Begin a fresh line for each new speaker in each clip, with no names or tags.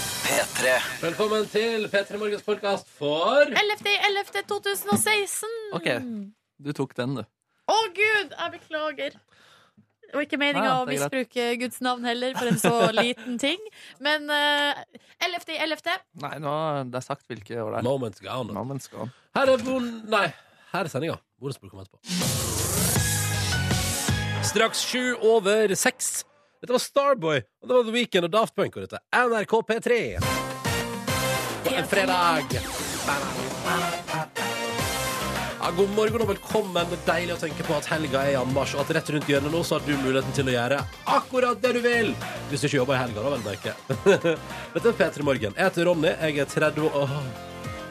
P3.
Velkommen til P3 Morgens podkast for
11.11.2016.
OK. Du tok den, du.
Å, gud! Jeg beklager. Det var ikke meninga
Ja,
å
Ah, det er greit.
misbruke Guds navn heller, for en så liten ting. Men uh, 11.11.
Nei, nå, det er sagt hvilke år det er.
Moments Gone.
Navnet skal han.
Her er bon... Nei, her er sendinga. Bonusbord kommer etterpå. Straks sju over seks. Dette var Starboy, og det var The Weekend og Daft Punk. Og dette er NRK P3. På en fredag. Ja, god morgen og velkommen. Det er deilig å tenke på at helga er i anmarsj, og at rett rundt hjørnet nå så har du muligheten til å gjøre akkurat det du vil. Hvis du ikke jobber i helga, da, vel merke. Dette er P3 Morgen. Jeg heter Ronny. Jeg er 30 år Åh.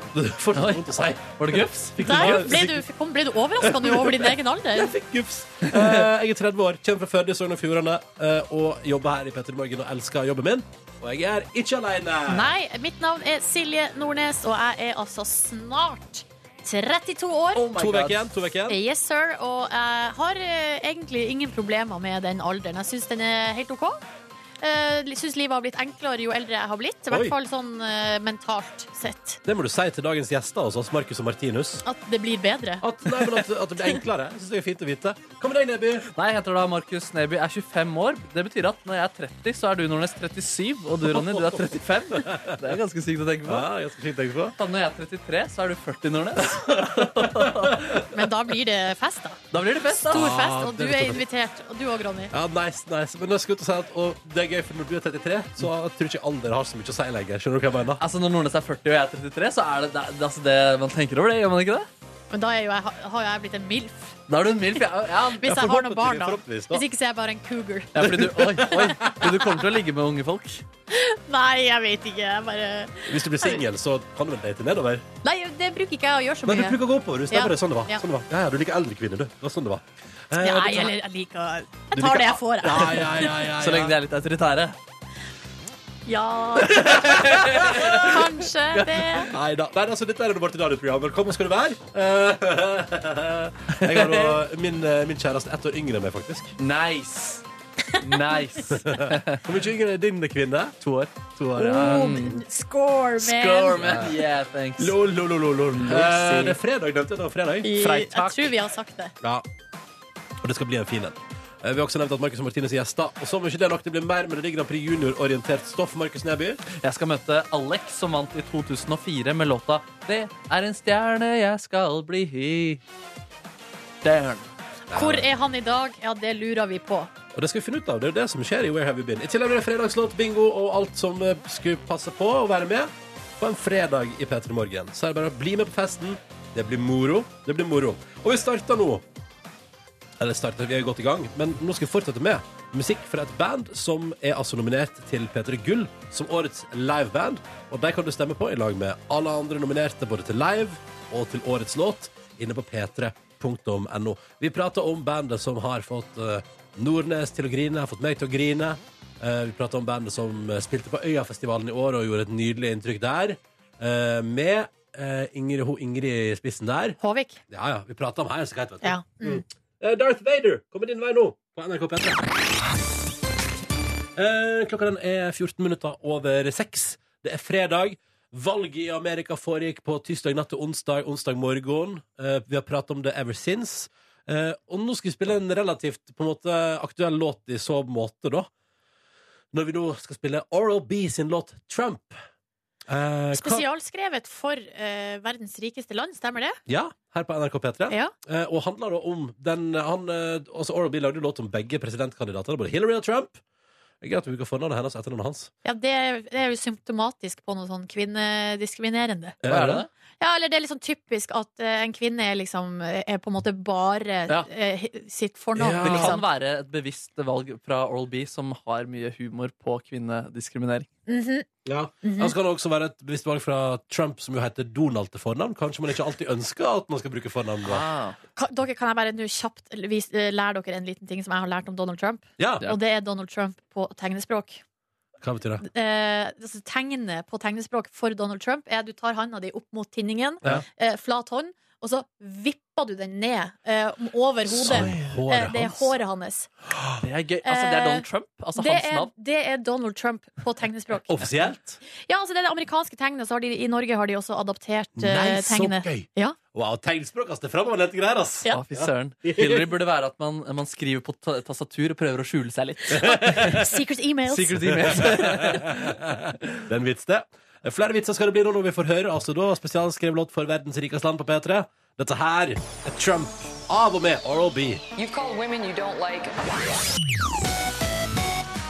Det er fortsatt vondt å si.
Var det gufs? Fikk du
Der
gufs?
ble du, kom- ble du overraska nå over din egen alder.
Jeg fikk gufs. Eh, jeg er 30 år, kommer fra Førde, Sogn og Fjordane, eh, og jobber her i Petter Morgen og elsker jobben min. Og jeg er ikke aleine.
Nei, mitt navn er Silje Nordnes, og jeg er altså snart 32 år.
Oh my
To
God.
uker igjen. to veker igjen
Yes, sir. Og jeg har eh, egentlig ingen problemer med den alderen. Jeg syns den er helt OK. Eh, Jeg syns livet har blitt enklere jo eldre jeg har blitt. I
Oi.
hvert fall sånn eh, mentalt sett.
Det må du si til dagens gjester hos oss, Markus og Martinus.
At det blir bedre.
At, nei, men at, at det blir enklere. Jeg synes det er fint å vite. Hva med deg, Neby?
Nei, jeg heter da Markus Neby, er 25 år. Det betyr at når jeg er 30, så er du Nordnes 37, og du Ronny, du er 35. Det er ganske sykt å tenke på.
jeg skal ikke tenke på.
Da når jeg er 33, så er du 40, Nordnes.
Men da blir det fest, da.
Da blir det fest, da.
Stor
Ah,
fest, og du
det
er
betyr-
invitert. Og du òg, Ronny.
Ja, nice, nice. Men jeg skulle til å si at og det er gøy, for når du er 33, så tror jeg ikke alder har så mye å si lenger. Skjønner du hva jeg mener?
Altså, Når Nordnes er 40 og jeg er 33, så er det, det, det, altså, det man tenker over det. Gjør man ikke det?
Men da er jo jeg, har jo jeg blitt en MILF.
Da er du en milf. Ja, ja.
Hvis jeg har noen barn, da.
forhåpentligvis, da.
Hvis ikke så er jeg bare en cougar.
ja fordi du, oi, oi, fordi du kommer til å ligge med unge folk.
Nei, jeg vet ikke. Jeg bare
Hvis du blir singel, så kan du vel date nedover?
Nei, det bruker ikke jeg å gjøre så
Nei, du
mye.
bruker å gå oppover. Du stemmer
Ja.
det. Sånn det var.
Ja.
Sånn det var. Ja, ja, du liker eldre kvinner, du. Det var sånn det var. Eh,
Nei,
det-
eller jeg liker Jeg
Du
tar
liker-
det jeg får,
Ja,
jeg.
ja, ja, ja, ja.
Så lenge de er litt autoritære.
Ja. Kanskje det.
Nei da. Nei, altså, dette er det vårt i dag, det programmet. Velkommen skal du være. Eh, jeg har da min, eh, min kjæreste ett år yngre enn meg, faktisk.
Nice. Nice.
Hvor mye yngre er din kvinne?
To år.
To år, ja.
Boom. Score,
Score,
man.
man. Yeah, thanks.
Lol, lol, lol, lol. Eh, det er fredag, nevnte jeg. Det var fredag.
I- Jeg
Freitak.
tror vi har sagt det.
Ja. Og det skal bli en fin en. Eh, Vi har også nevnt at Markus og Martinus er gjester. Og som om ikke det er nok, det blir mer Melodi Grand Prix Junior-orientert stoff. Markus Neby.
Jeg skal møte Alex, som vant i 2004 med låta 'Det er en stjerne jeg skal bli hy'. Damn.
Hvor er han i dag? Ja, det lurer vi på.
Og det skal vi finne ut av. Det er jo det som skjer i Where Have You Been. I tillegg blir det fredagslåt, bingo og alt som eh, skulle passe på å være med på en fredag i P3 Morgen. Så er det bare å bli med på festen. Det blir moro. Det blir moro. Og vi starter nå. Eller starter, vi er godt i gang, men nå skal vi fortsette med musikk fra et band som er altså nominert til P3 Gull som årets liveband. Og de kan du stemme på i lag med alle andre nominerte både til live og til årets låt inne på p3.no. Vi prater om bandet som har fått eh, Nordnes til å grine, har fått meg til å grine. Eh, vi prater om bandet som eh, spilte på Øyafestivalen i år og gjorde et nydelig inntrykk der. Eh, med eh, Ingrid, ho Ingrid i spissen der.
Håvik.
Ja, ja. Vi prater om Highasakite, vet du.
Ja. Mm.
Eh, Darth Vader kommer din vei nå på NRK P3. Eh, klokka den er 14 minutter over seks. Det er fredag. Valget i Amerika foregikk på tirsdag natt til onsdag, onsdag morgen. Eh, vi har pratet om det ever since. Eh, og nå skal vi spille en relativt på en måte, aktuell låt i så måte, da. Når vi nå skal spille Oral B sin låt 'Trump'. Eh, hva-
Spesialskrevet for eh, verdens rikeste land, stemmer det?
Ja, her på NRK P3.
Ja.
Eh, og handler da om den han, eh, altså Oral B lagde låt om begge presidentkandidatene, både Hillary og Trump. Det er Greit om vi bruker fornavnet hennes og etternavnet hans.
Ja, det, er- det er jo symptomatisk på noe sånn kvinnediskriminerende.
Eh,
Hva er det?
Ja, eller det er liksom typisk at eh, en kvinne er liksom eh, er på en måte bare
Ja.
eh, hi- sitt fornavn,
Ja.
Det kan
liksom.
være et bevisst valg fra Oral B, som har mye humor på kvinnediskriminering.
Mhm.
Ja.
Mhm.
Og så kan det også være et bevisst valg fra Trump, som jo heter Donald til fornavn. Kanskje man ikke alltid ønsker at man skal bruke fornavn. da.
Ah.
Ka- Dere kan jeg bare nå kjapt vis- eh, lære dere en liten ting som jeg har lært om Donald Trump.
Ja.
Ja.
Og det er Donald Trump på tegnespråk.
Hva betyr det?
Eh, altså, tegnet på tegnespråk for Donald Trump er at du tar handa di opp mot tinningen,
Ja.
eh, flat hånd, og så vipper du den ned eh, over hodet.
Sånn,
Eh, det er
hans.
håret hans.
Det er gøy. Altså, det er Donald Trump. Altså
Det
hans
er,
navn.
det er Donald Trump på tegnespråk.
Oh. Offisielt?
Ja, altså det er det amerikanske tegnet, så har de, i Norge har de også adaptert eh,
Nei, så
tegnet.
gøy!
Ja.
Wow, tegnspråk, ass. Det er framoverlente greier, ass.
Ja.
Å, fy søren. Hillary burde være at man, man skriver på ta tastatur og prøver å skjule seg litt.
Secret emails.
Secret emails.
Det er en vits, det. Flere vitser skal det bli nå når vi får høre. Altså da Spesialskrevet låt for verdens rikeste land på P3. Dette her er Trump av og med Oral B.
You've called women you don't like.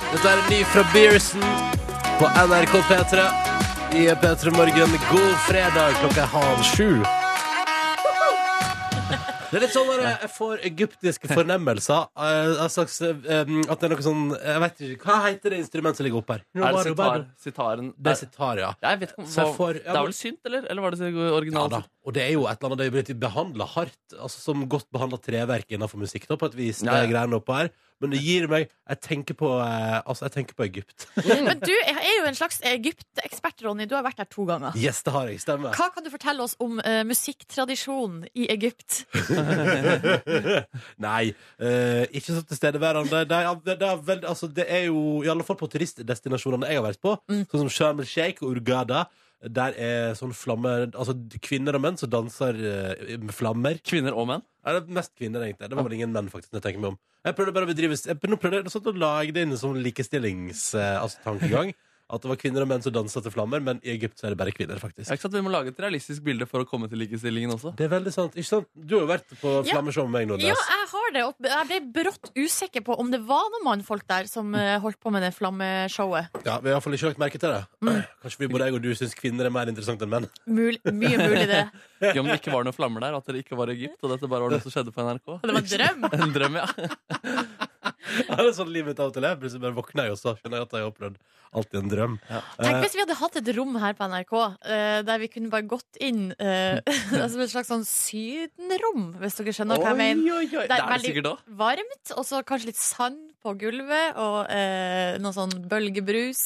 Dette er en ny fra Beerson på NRK P3 i P3 Morgen. God fredag, klokka er halv sju. Det er litt sånn når jeg får egyptiske fornemmelser. eh, En slags, eh, at det er noe sånn Jeg vet ikke, Hva heter det instrumentet som ligger oppe her?
Er det sitar, sitaren?
Det er sitar, ja.
Jeg vet ikke,
Så
hva,
jeg får-
det er vel synt, eller? Eller var det
Ja
originalt?
da. Altså, Og det er jo et eller annet det er blitt behandla hardt, altså som godt behandla treverk innenfor musikk, da, på et vis.
Ja, ja.
Det greiene oppå her. Men det gir meg Jeg tenker på, eh, altså, jeg tenker på Egypt.
Men du er jo en slags Egypt-ekspert, Ronny. Du har vært der to ganger.
Yes, det har jeg. Stemmer.
Hva kan du fortelle oss om eh, musikktradisjonen i Egypt?
Nei, eh, ikke så tilstedeværende. Det er, det, er vel, altså, det er jo I alle fall på turistdestinasjonene jeg har vært på, sånn som Sharm el Sheikh og Urgada. Der er sånn flammer Altså kvinner og menn som danser eh, med flammer.
Kvinner og menn?
Ja, det er mest kvinner, egentlig. Det var vel ingen menn, faktisk. når Jeg tenker meg om Jeg prøvde bare å bedrive jeg prøvde, nå prøvde jeg sånn å lage det inn som likestillingstankegang. Altså, tankegang. at det var kvinner og menn som dansa til flammer, men i Egypt så er det bare kvinner,
Ja,
faktisk.
ikke sant? Vi må lage et realistisk bilde for å komme til likestillingen også.
Det er veldig sant. Ikke sant? Du har jo vært på
Ja.
flammeshow med meg,
Ja,
Nordnes.
jeg har det. Og jeg ble brått usikker på om det var noen mannfolk der som eh, holdt på med det flammeshowet.
Ja, vi har i hvert fall ikke lagt merke til det. Kanskje vi både jeg og du syns kvinner er mer interessant enn menn.
Mul mye mulig det.
Gøy om det ikke var noen flammer der, og at det ikke var Egypt, og dette bare var noe som skjedde på NRK.
Det var en drøm.
En drøm, ja.
Ja, det er sånn livet mitt av og til er. Plutselig bare våkner jeg, og så skjønner jeg at jeg har opplevd alltid en drøm.
Tenk hvis vi hadde hatt et rom her på NRK eh, der vi kunne bare gått inn eh, som et slags sånn sydenrom, hvis dere skjønner hva jeg mener.
oi, oi. Det er det
veldig
sikkert òg.
Varmt, og så kanskje litt sand på gulvet, og eh, noe sånn bølgebrus.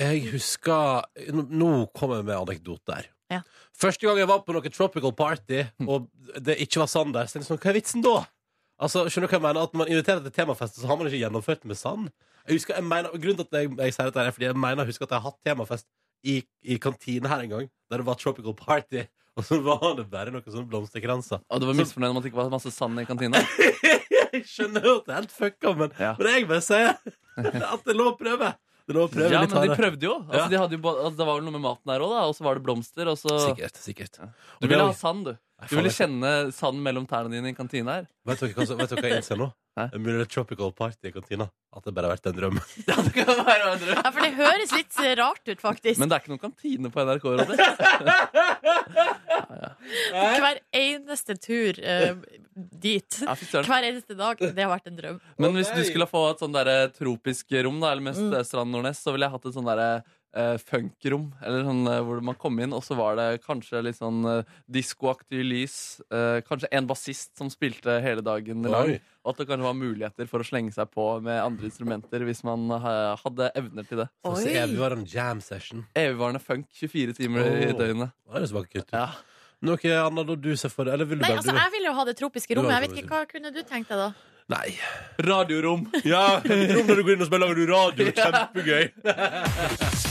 Jeg husker Nå nå kommer jeg med anekdoter.
Ja.
Første gang jeg var på noe tropical party,
Hm.
og det ikke var sand der, så tenkte jeg sånn, hva er vitsen da? Altså, skjønner du hva jeg mener? At Når man inviterer til temafest, så har man ikke gjennomført det med sand. Jeg husker, jeg mener, og grunnen til at jeg, jeg sier dette, er fordi jeg mener jeg husker at jeg har hatt temafest i, i kantine her en gang, der det var tropical party, og så var det bare noen sånne blomsterkranser.
Og du var misfornøyd med at det ikke var masse sand i kantina?
Jeg skjønner jo at det er helt fucka, men,
Ja.
men jeg bare sier at det er lov å prøve. Det er lov å prøve
Ja, men
litt
de
hardere.
prøvde jo. Altså,
Ja.
de hadde jo ba- altså, det var vel noe med maten her òg, da. Og så var det blomster, og så
Sikkert, sikkert.
Du ville ha sand, du. Du ville
faen, jeg-
kjenne sand mellom tærne dine i kantina her.
Vet dere hva, som- vet dere hva jeg innser nå?
Hæ?
Det er Mulig det er tropical party i kantina. At det bare har vært en drøm.
Ja, det kan være en drøm.
Ja, for det høres litt eh, rart ut, faktisk.
Men det er ikke noen kantine på NRK-rådet.
Hver eneste tur eh, dit,
Ja, fy søren.
hver eneste dag, det har vært en drøm.
Men hvis du skulle få et sånn der tropisk rom, da, eller mest eh, Strand Nordnes, så ville jeg hatt et sånn derre Uh, Funkrom, eller sånn eh, hvor man kom inn, og så var det kanskje litt sånn uh, diskoaktig lys. eh, kanskje en bassist som spilte hele dagen lang.
Oi.
Og at det kanskje var muligheter for å slenge seg på med andre instrumenter hvis man eh, hadde evner til det.
Så
Oi.
ser vi var en jam session.
Evigvarende funk 24 timer i
Åh.
døgnet.
Det er jo så vakkert ut.
Ja.
Noe annet da du ser for deg? Eller vil du
Nei,
bare
altså,
du-
jeg ville jo ha det
Du
tropiske
har
rommet. Jeg
det
vet ikke, Hva kunne du tenkt deg, da?
Nei.
Radiorom!
Ja, rom når du går inn og spiller lager du radio. Kjempegøy.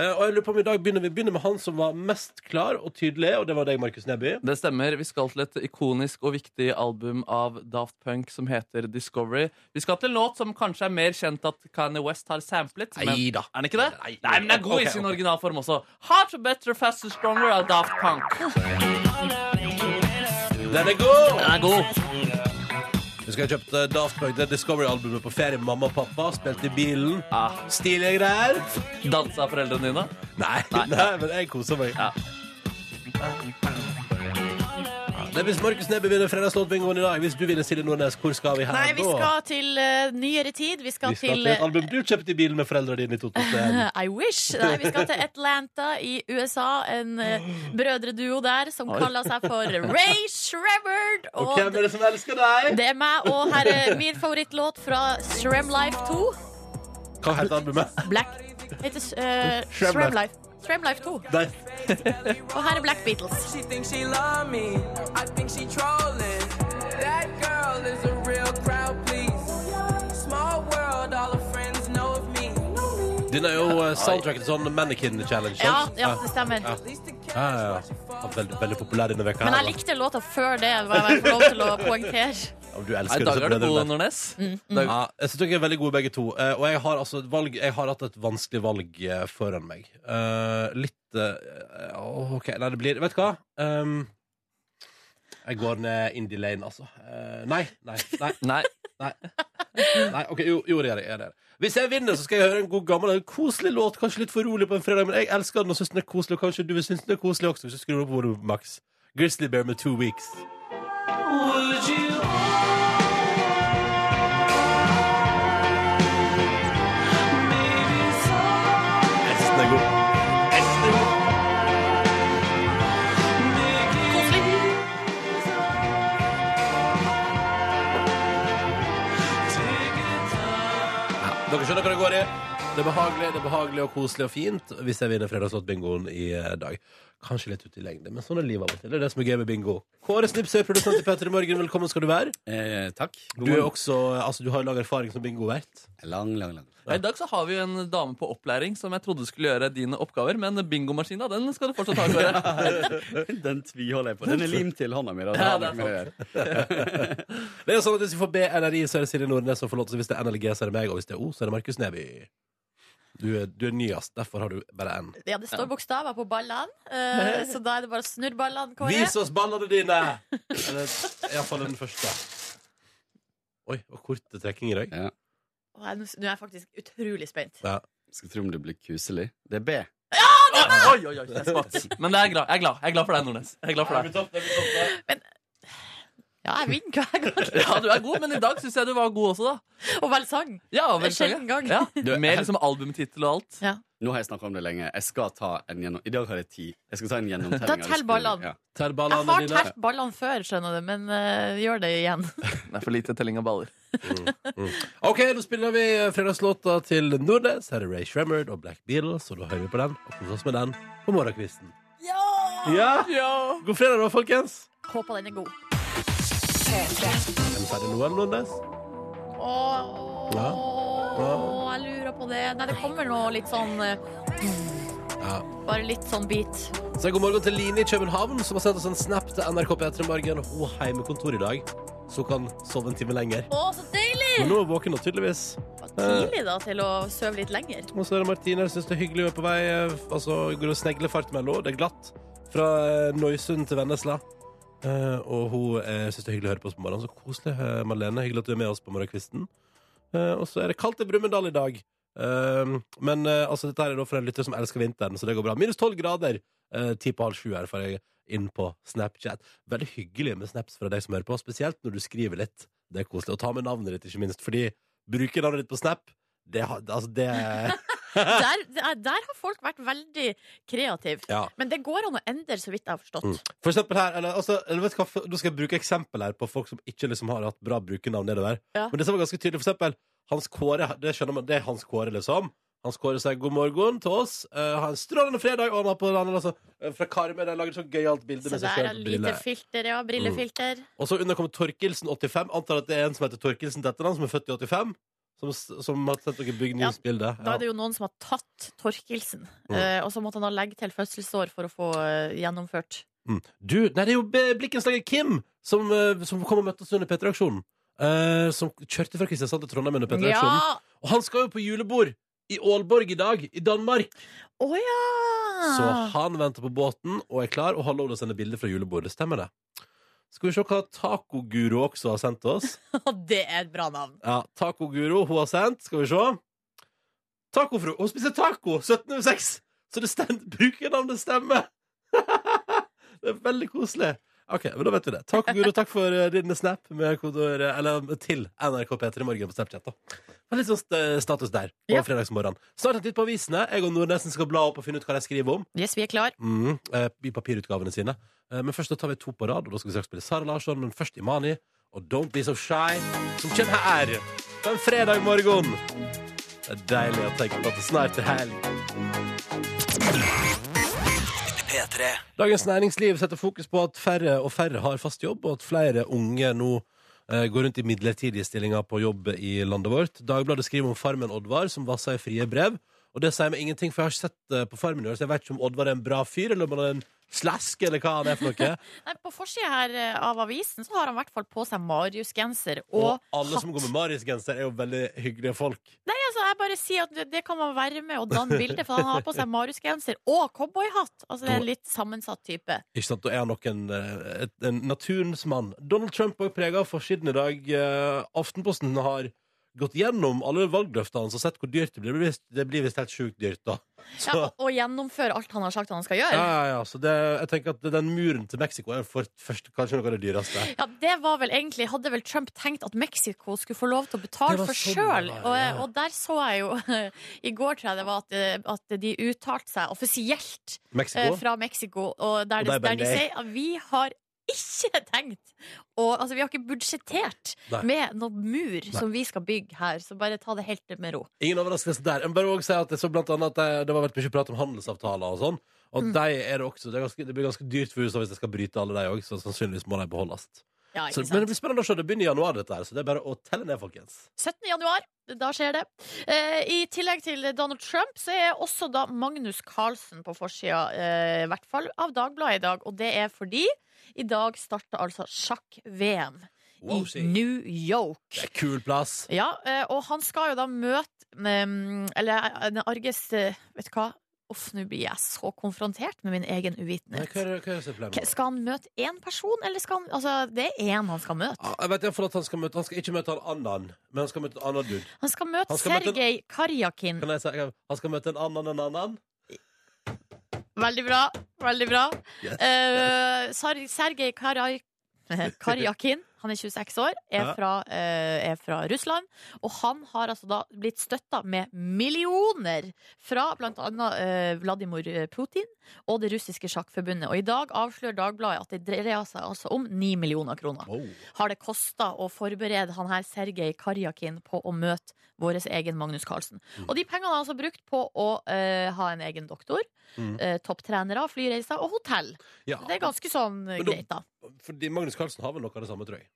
Eh, og jeg lurer på om i dag begynner Vi begynner med han som var mest klar og tydelig, og det var deg, Markus Neby.
Det stemmer. Vi skal til et ikonisk og viktig album av Daft Punk som heter Discovery. Vi skal til en låt som kanskje er mer kjent at Kanye West har samplet. Men
Neida.
Er den ikke det?
Nei.
Nei, men den er god
Ok,
i sin
ok.
originalform også. Harder, better, faster, stronger av Daft Punk.
Den er god!
Den er god.
Jeg skal ha kjøpt eh, Daft Punk, det Discovery-albumet på ferie med mamma og pappa. Spilte i bilen.
Ah,
Stilige greier.
dansa av foreldrene dine?
Nei, nei. men jeg koser meg.
Ja.
Ja, Men hvis Markus Neby vinner fredagslåtbingoen i dag, hvis du vinner Silje Nordnes, hvor skal vi her
Nei, vi
da?
skal til eh, nyere tid. Vi skal,
Vi skal til
til eh,
et album du kjøpte i bilen med foreldrene dine i 2001.
I wish! Nei, vi skal til Atlanta i USA. En eh, brødreduo der som
Oi.
kaller seg for Ray Shrevard.
Og
Og
hvem er det som elsker deg?
det er meg og her er min favorittlåt fra Shrem Life 2.
Hva heter albumet?
Black heter uh,
Shrem
Shrem Life. Shrem Life 2.
Der.
Og her er Black Beatles.
She thinks she love me. I think she trolling. That girl is a real crowd, please. Small world, all her friends know of me.
Den er jo eh, soundtracket til sånn Mannequin Challenge.
Ja,
sant?
ja det stemmer.
Ja.
At least the
Ja,
Ah.
cat
ja, ja. Veldig, veldig populær denne veka.
Men
her,
jeg likte låta før det, må jeg få lov til å poengtere.
da. Ja, men Du
Nei, I
elsker
dag
disse
er det
brødrene.
Bolle Nordnes. Dag-
Ja, jeg synes dere er veldig gode begge to. Eh, og jeg har, altså, et valg, jeg har hatt et vanskelig valg eh, foran meg. Eh, litt eh, åh, OK, nei, det blir Vet du hva? Um, jeg går ned Indie Lane, altså. Eh, nei, nei, nei.
Nei,
nei ok, jo, jo, det gjør jeg. jeg gjør det. Hvis jeg vinner, så skal jeg høre en god gammel en koselig låt. Kanskje litt for rolig på en fredag, men jeg elsker den og syns den er koselig. Og kanskje du syns den er koselig også, hvis du skrur opp volumet, Max. Grizzly Bear med Two Weeks. Jeg synes den er god. Jeg synes den er god. Dere skjønner hva det går i. Det er behagelig, det er behagelig og koselig og fint hvis jeg vinner fredagslåtbingoen i eh, dag. Kanskje litt ute i lengde, men sånn er livet av og til. Det er det som er gøy med bingo. Kåre Snipsøy, produsent i Petter i Morgen, velkommen skal du være.
Eh, takk. God
Du er
morgen.
også, altså du har lang erfaring som bingovert.
Lang, lang, lang.
Ja, I dag så har vi jo en dame på opplæring som jeg trodde skulle gjøre dine oppgaver, men bingomaskina den skal du fortsatt ha. Kåre.
Den tviholder jeg på. Den er limt til hånda mi. Da.
Ja,
det
det er
har vi ikke mer å gjøre.
Det er jo sånn at Hvis vi får B eller I, så er det Silje Nordnes som får lov til Hvis det er N eller G, så er det meg. Og hvis det er O, så er det Markus Neby. Du er, du er nyest, derfor har du bare N.
Ja, det står bokstaver på ballene, eh, så da er det bare å snurre ballene, Kåre.
Vis oss ballene dine! Eller iallfall den første. Oi, og kort trekking i dag.
Å, jeg- Nå er jeg faktisk utrolig spent.
Skal tro om det blir kuselig. Det er B.
Oi, oi, oi, jeg spakt. Men det er glad. jeg er glad. Jeg er glad for deg, Nordnes. Jeg er glad for deg.
Ja, jeg vinner hver gang.
Ja, du er god, men i dag syns jeg du var god også, da.
Og vel sang.
Ja, vel,
Sjelden gang.
Ja,
Du er-
Med liksom albumtittel og alt.
Nå har jeg snakka om det lenge. Jeg skal ta en gjennom... I dag har jeg ti. Jeg skal ta en gjennomtelling.
Da
av det
tell
spillet.
ballene.
Ja.
Tær
Jeg
ballene
har
dine.
telt ballene før, skjønner du, men eh, gjør det igjen.
Det er for lite telling av baller.
Ok, nå spiller vi fredagslåta til Nordnes. Her er Ray Shremmerd og Black Beatles, og da hører vi på den og koser oss med den på morgenkvisten. Ja! God fredag, da, folkens.
Håper den er god.
Er vi ferdig nå, eller, Nordnes?
Åh,
Ja.
åh, jeg lurer på det. Nei, det kommer nå litt sånn eh,
Ja.
Bare litt sånn bit.
Så god morgen til Line i København, som har sendt oss en snap til NRK P3 Morgen. Hun har hjemmekontor i dag, så hun kan sove en time lenger.
Å, så deilig!
Men nå er hun våken, og tydeligvis.
Tidlig da til å sove litt lenger.
Og så er det Martine som syns det er hyggelig å være på vei. eh, Altså, går og snegler fart mellom henne. Det er glatt fra eh, Nøysund til Vennesla. Eh, og hun eh, syns det er hyggelig å høre på oss på morgenen. Så koselig, eh, Malene. Hyggelig at du er med oss på morgenkvisten. Eh, og så er det kaldt i Brumunddal i dag. Eh, men eh, altså, dette her er da for en lytter som elsker vinteren, så det går bra. Minus tolv grader. eh, Ti på halv sju her får jeg inn på Snapchat. Veldig hyggelig med snaps fra deg som hører på, spesielt når du skriver litt. Det er koselig. Og ta med navnet ditt, ikke minst, fordi bruker navnet ditt på Snap, det, har- altså, det
Der, der, der har folk vært veldig kreative.
Ja.
Men det går an å endre, så vidt jeg har forstått.
Mm. For eksempel her, eller, altså, eller vet du hva, for- Nå skal jeg bruke eksempel her på folk som ikke liksom har hatt bra brukernavn. nede der
Ja.
Men det som var ganske tydelig, for eksempel Hans Kåre, det skjønner man, det er Hans Kåre, liksom. Hans Kåre sier god morgen til oss. eh, ha en strålende fredag. Og han har på den altså, eh, fra Karmøy. De lager et sånt gøyalt bilde
Så
med seg
der er
sjøl.
lite
briller.
filter, ja. Brillefilter.
Og så under kommer Torkelsen85. Antar at det er en som heter Torkelsen til etternavn, som er født i 85. Som, s- som har sett dere bygge
Ja,
nyhetsbilde.
Da er det jo noen som har tatt Torkelsen,
Mm.
eh, og så måtte han da legge til fødselsår for å få eh, gjennomført.
Mm. Du, nei, det er jo be- blikkenslager Kim som, eh, som kom og møtte oss under P3-aksjonen. Eh, som kjørte fra Kristiansand til Trondheim under P3-aksjonen.
Ja!
Og han skal jo på julebord i Aalborg i dag, i Danmark.
Å ja!
Så
Ah.
han venter på båten og er klar og har lov til å sende bilder fra julebordet. Stemmer det? Skal vi se hva Tacoguro også har sendt oss.
Det er et bra navn.
Ja, Tacoguro hun har sendt. Skal vi se. Tacofru. Hun spiser taco 1706! Så det stem- brukernavnet stemmer! det er veldig koselig. Ok, men da vet vi det. Takk Guro, takk for eh, din snap med kodeord, eh, eller til NRK P3 Morgen på Snapchat. da. Men litt sånn st- status der på
Ja.
fredagsmorgenen. Snart en titt på avisene. Jeg og Nordnesen skal bla opp og finne ut hva de skriver om.
Yes, vi er klar.
Mm, eh, I papirutgavene sine. Eh, men først da tar vi to på rad, og da skal vi straks spille Sara Larsson, men først Imani og Don't Be So Shy, som kommer her på en fredag morgen. Det er deilig å tenke på at det snart er helg. Dagens Næringsliv setter fokus på at færre og færre har fast jobb, og at flere unge nå eh, går rundt i midlertidige stillinger på jobb i landet vårt. Dagbladet skriver om Farmen Oddvar, som vassa i frie brev. Og det sier meg ingenting, for jeg har ikke sett eh, på Farmen i år, så jeg vet ikke om Oddvar er en bra fyr, eller om han er en slask, eller hva han er for noe.
Nei, på forsida her eh, av avisen så har han i hvert fall på seg Marius-genser
Og
og,
alle som går med Marius-genser, er jo veldig hyggelige folk.
Nei, altså, jeg bare sier at det, det kan man være med og danne bilde, for han har på seg Marius-genser og cowboyhatt. Altså, det er en litt sammensatt type.
Ikke sant, Da er han nok en, eh, et- en naturens mann. Donald Trump er prega av forsiden i dag. Eh, Aftenposten har gått gjennom alle valgløftene hans og sett hvor dyrt det blir. Det blir visst- Det blir visst helt sjukt dyrt, da. Så,
Ja, og, og gjennomføre alt han har sagt han skal gjøre.
ja, ja, ja, så det, jeg tenker at den muren til Mexico er for først, kanskje noe av det dyreste.
Ja, det var vel egentlig Hadde vel Trump tenkt at Mexico skulle få lov til å
Det
betale
var
for
sånn
sjøl?
det var,
Og,
ja.
og der så jeg jo I går, tror jeg det var, at, eh, at de uttalte seg offisielt eh,
Mexico?
fra Mexico, og
Og det
der,
er
de,
bare
der de
nei.
sier at vi har ikke tenkt og, altså, Vi har ikke budsjettert
Nei.
med noen mur som vi skal bygge her, så bare ta det helt med ro.
Ingen overraskelse der. Jeg må bare også si at jeg så blant annet at det, det har vært mye prat om handelsavtaler og sånn. Og
Mm.
de er det også. Det, er ganske, det blir ganske dyrt for USA hvis de skal bryte alle de òg, så sannsynligvis må de beholdes.
Ja,
Så,
ikke
men det
sant?
blir spennende å se. Det begynner i januar, dette her, så det er bare å telle ned, folkens.
17. januar, da skjer det. Eh, I tillegg til Donald Trump, så er også da Magnus Carlsen på forsida, eh, i hvert fall av Dagbladet i dag. Og det er fordi i dag starter altså sjakk-VM
Wow,
i
shit.
New York.
Det er kul plass.
Ja, eh, og han skal jo da møte mm, Eller eh, den arges eh, Vet du hva? Uff, nå blir jeg så konfrontert med min egen
Nei, hva
uvitenhet.
er, hva er det som er
K-
problemet?
Skal han møte én person, eller skal han Altså, det er én han skal møte.
Ja, Jeg vet i hvert fall at han skal møte Han skal ikke møte en annen, men han skal møte en annen dude.
Han skal møte
Han skal møte en-
Sergej Karjakin.
Kan jeg si, han skal møte en annen enn en annen?
Veldig bra. Veldig bra.
Yes.
Eh, Sar- Sergej Karaj... Karjakin, han er 26 år, er
Ja.
fra, eh, er fra Russland. Og han har altså da blitt støtta med millioner fra bl.a. Uh, Vladimir Putin og det russiske sjakkforbundet. Og i dag avslører Dagbladet at det dreier seg altså om 9 millioner kroner.
Wow.
Har det kosta å forberede han her Sergej Karjakin på å møte vår egen Magnus Carlsen? Og de pengene har han altså brukt på å eh, ha en egen doktor
Mm.
eh, topptrenere, flyreiser og hotell.
Ja.
Det er ganske sånn eh,
Men da-
greit, da.
Fordi Magnus Carlsen har vel noe av det samme, tror jeg.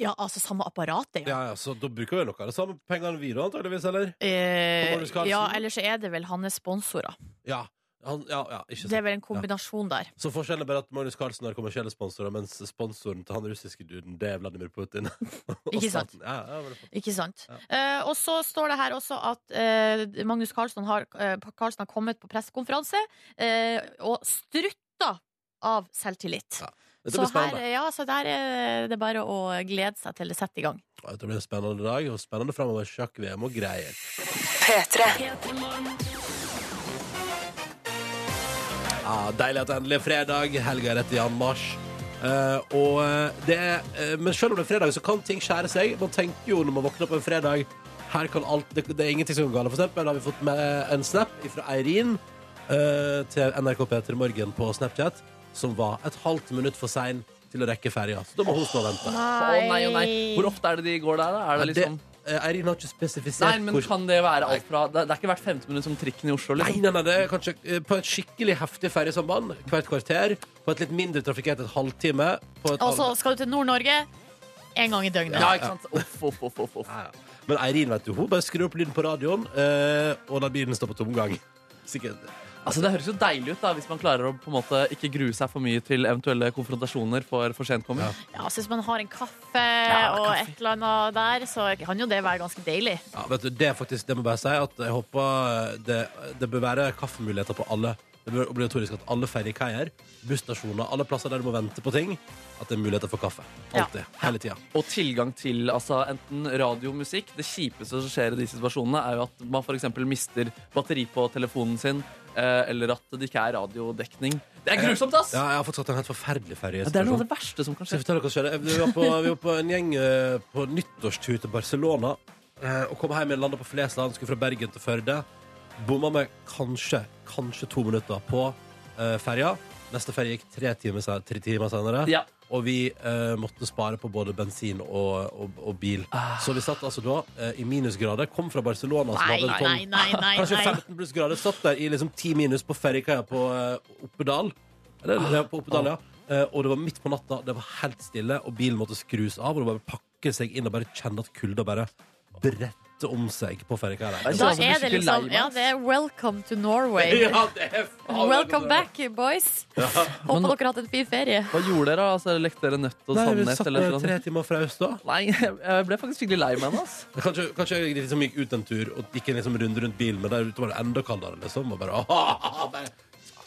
Ja, altså samme apparatet, ja.
Ja, ja, så da bruker vi noe av det samme pengene vi, da, antageligvis, eller?
Eh,
Og Magnus Carlsen?
ja, eller så er det vel hans sponsorer.
Ja. Han, ja, ja, ikke
Det er
sant.
vel en kombinasjon der.
Så forskjellen er bare at Magnus Carlsen har kommersielle sponsorer, mens sponsoren til han russiske duden, det er Vladimir Putin. Og
Ikke sant.
staten. Ja, ja, men det er flott.
Ikke sant?
Ja.
Eh, og så står det her også at eh, Magnus Carlsen har, eh, Carlsen har kommet på pressekonferanse eh, og strutta av selvtillit.
Ja, Dette
Så
blir
her,
spennende.
ja, så der er det bare å glede seg til det setter i gang.
Ja, Dette blir en spennende dag, og spennende framover. Sjakk-VM og greier. Ja, Deilig at det endelig er fredag. Helga er rett i anmarsj. Eh, og eh, det er, eh, men selv om det er fredag, så kan ting skjære seg. Man tenker jo når man våkner på en fredag Her kan alt, det, det er ingenting som går galt. For eksempel har vi fått med en snap fra Eirin eh, til NRK P3 Morgen på Snapchat, som var et halvt minutt for sein til å rekke ferja. Så da må hun stå og vente.
Å nei, å nei. Hvor ofte er det de går der, da? Er det
Men
liksom
det- eh, Eirin har ikke spesifisert
Nei, men
hvor
kan det være alt fra Det det er ikke hvert femte minutt som trikken i Oslo,
Nei,
liksom.
nei, nei, det er kanskje eh, på et skikkelig heftig ferjesamband hvert kvarter. På et litt mindre trafikkert et halvtime. På et
Og så
annet-
skal du til Nord-Norge én gang i døgnet.
Ja, ikke sant? Uff, uff, uff, uff, uff.
Ja, ja. Men Eirin, vet du, hun bare skrur opp lyden på radioen, eh, og lar bilen stå på tomgang. Sikkert.
Altså, Det høres jo deilig ut da, hvis man klarer å på en måte ikke grue seg for mye til eventuelle konfrontasjoner for for sent kommer.
Ja, altså Hvis man har en kaffe
Ja,
og
kaffe.
et eller annet der, så kan jo det være ganske deilig.
Ja, vet du, det er faktisk, det må jeg bare si at jeg håper eh, det, det bør være kaffemuligheter på alle. Det bør være obligatorisk at alle ferjekaier, busstasjoner, alle plasser der du må vente på ting, at det er muligheter for kaffe.
Ja.
Alltid. Hele tida.
Og tilgang til altså, enten radiomusikk Det kjipeste som skjer i de situasjonene, er jo at man f.eks. mister batteri på telefonen sin, eh, eller at det ikke er radiodekning. Det er grusomt, ass!
Ja, jeg har fått satt en helt forferdelig ferie.
Ja, det er noe av det verste som kan
Skal
skje.
jeg fortelle dere hva som skjedde? Vi var på, vi var på en gjeng eh, på nyttårstur til Barcelona. eh, Og kom hjem igjen, landa på Flesland, skulle fra Bergen til Førde. Bomma med kanskje, kanskje to minutter på eh, ferja. Neste ferje gikk tre timer, sen- tre timer senere.
Ja.
Og vi eh, måtte spare på både bensin og, og, og bil. Så vi satt altså da eh, i minusgrader. Kom fra Barcelona. som
Ah. Nei,
hadde sånn-
nei, nei, nei,
Kanskje
nei.
15 pluss grader. Satt der i liksom 10 minus på ferjekaia på eh, Oppedal. Eller, ja, på Oppedal, ja. Eh, og det var midt på natta, det var helt stille, og bilen måtte skrus av. Og det bare pakke seg inn og bare kjenne at kulda bare bretter om seg på ferjekaia. der.
Da
Altså, jeg
er
blir
det
skikkelig lei
liksom
meg,
Ja,
ass.
det er welcome to Norway.
Ja, det er faen-
Welcome back, boys. Håper
Men-
dere har hatt en fin ferie.
Hva gjorde dere? Altså, lekte dere nøtt og
Nei, vi
sannhet?
satt
Eller
der
sånn?
tre timer fraust da.
Nei, jeg ble faktisk skikkelig lei meg nå. ass.
Kanskje, kanskje jeg liksom gikk ut en tur og gikk en liksom runde rundt bilen, men der ute var det enda kaldere. liksom Og bare, bare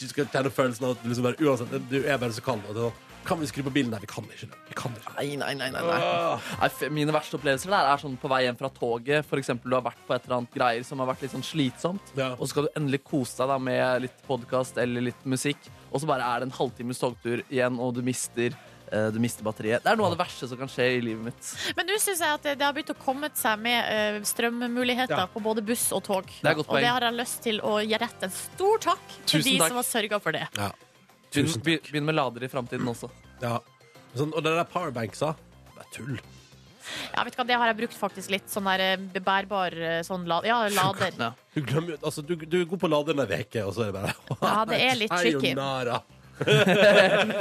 Du skal kjenne følelsen av at du liksom bare, uansett, du er bare så kald. Og det, er sånn, kan vi skru på bilen? Nei, vi kan ikke det. Vi kan ikke.
Nei, nei, nei, nei, nei. nei f- Mine verste opplevelser der er sånn på vei hjem fra toget. For eksempel, du har vært på et eller annet greier som har vært litt sånn slitsomt.
Ja.
Og så skal du endelig kose deg da med litt podkast eller litt musikk, og så bare er det en halvtimes togtur igjen, og du mister, eh, du mister batteriet. Det er noe av det verste som kan skje i livet mitt.
Men nå syns jeg at det det har begynt å komme seg med eh, strømmuligheter
Ja.
på både buss og tog.
er et godt
og det
poeng.
har jeg lyst til å gi rett en stor takk til
Tusen
de
takk.
som har sørga for det.
Ja.
Begynn,
Tusen
be- begynn med lader i framtiden også.
Ja. Sånn, og det der powerbanksa Det er tull.
Ja, vet du hva, Det har jeg brukt faktisk litt. Sånn der eh, bærbar eh, sånn la ja, lader.
Ja.
Du, glemmer, jo- altså, du, du er god på å lade den ei uke, og så er det bare
Ja, det er litt tricky.
Sayonara.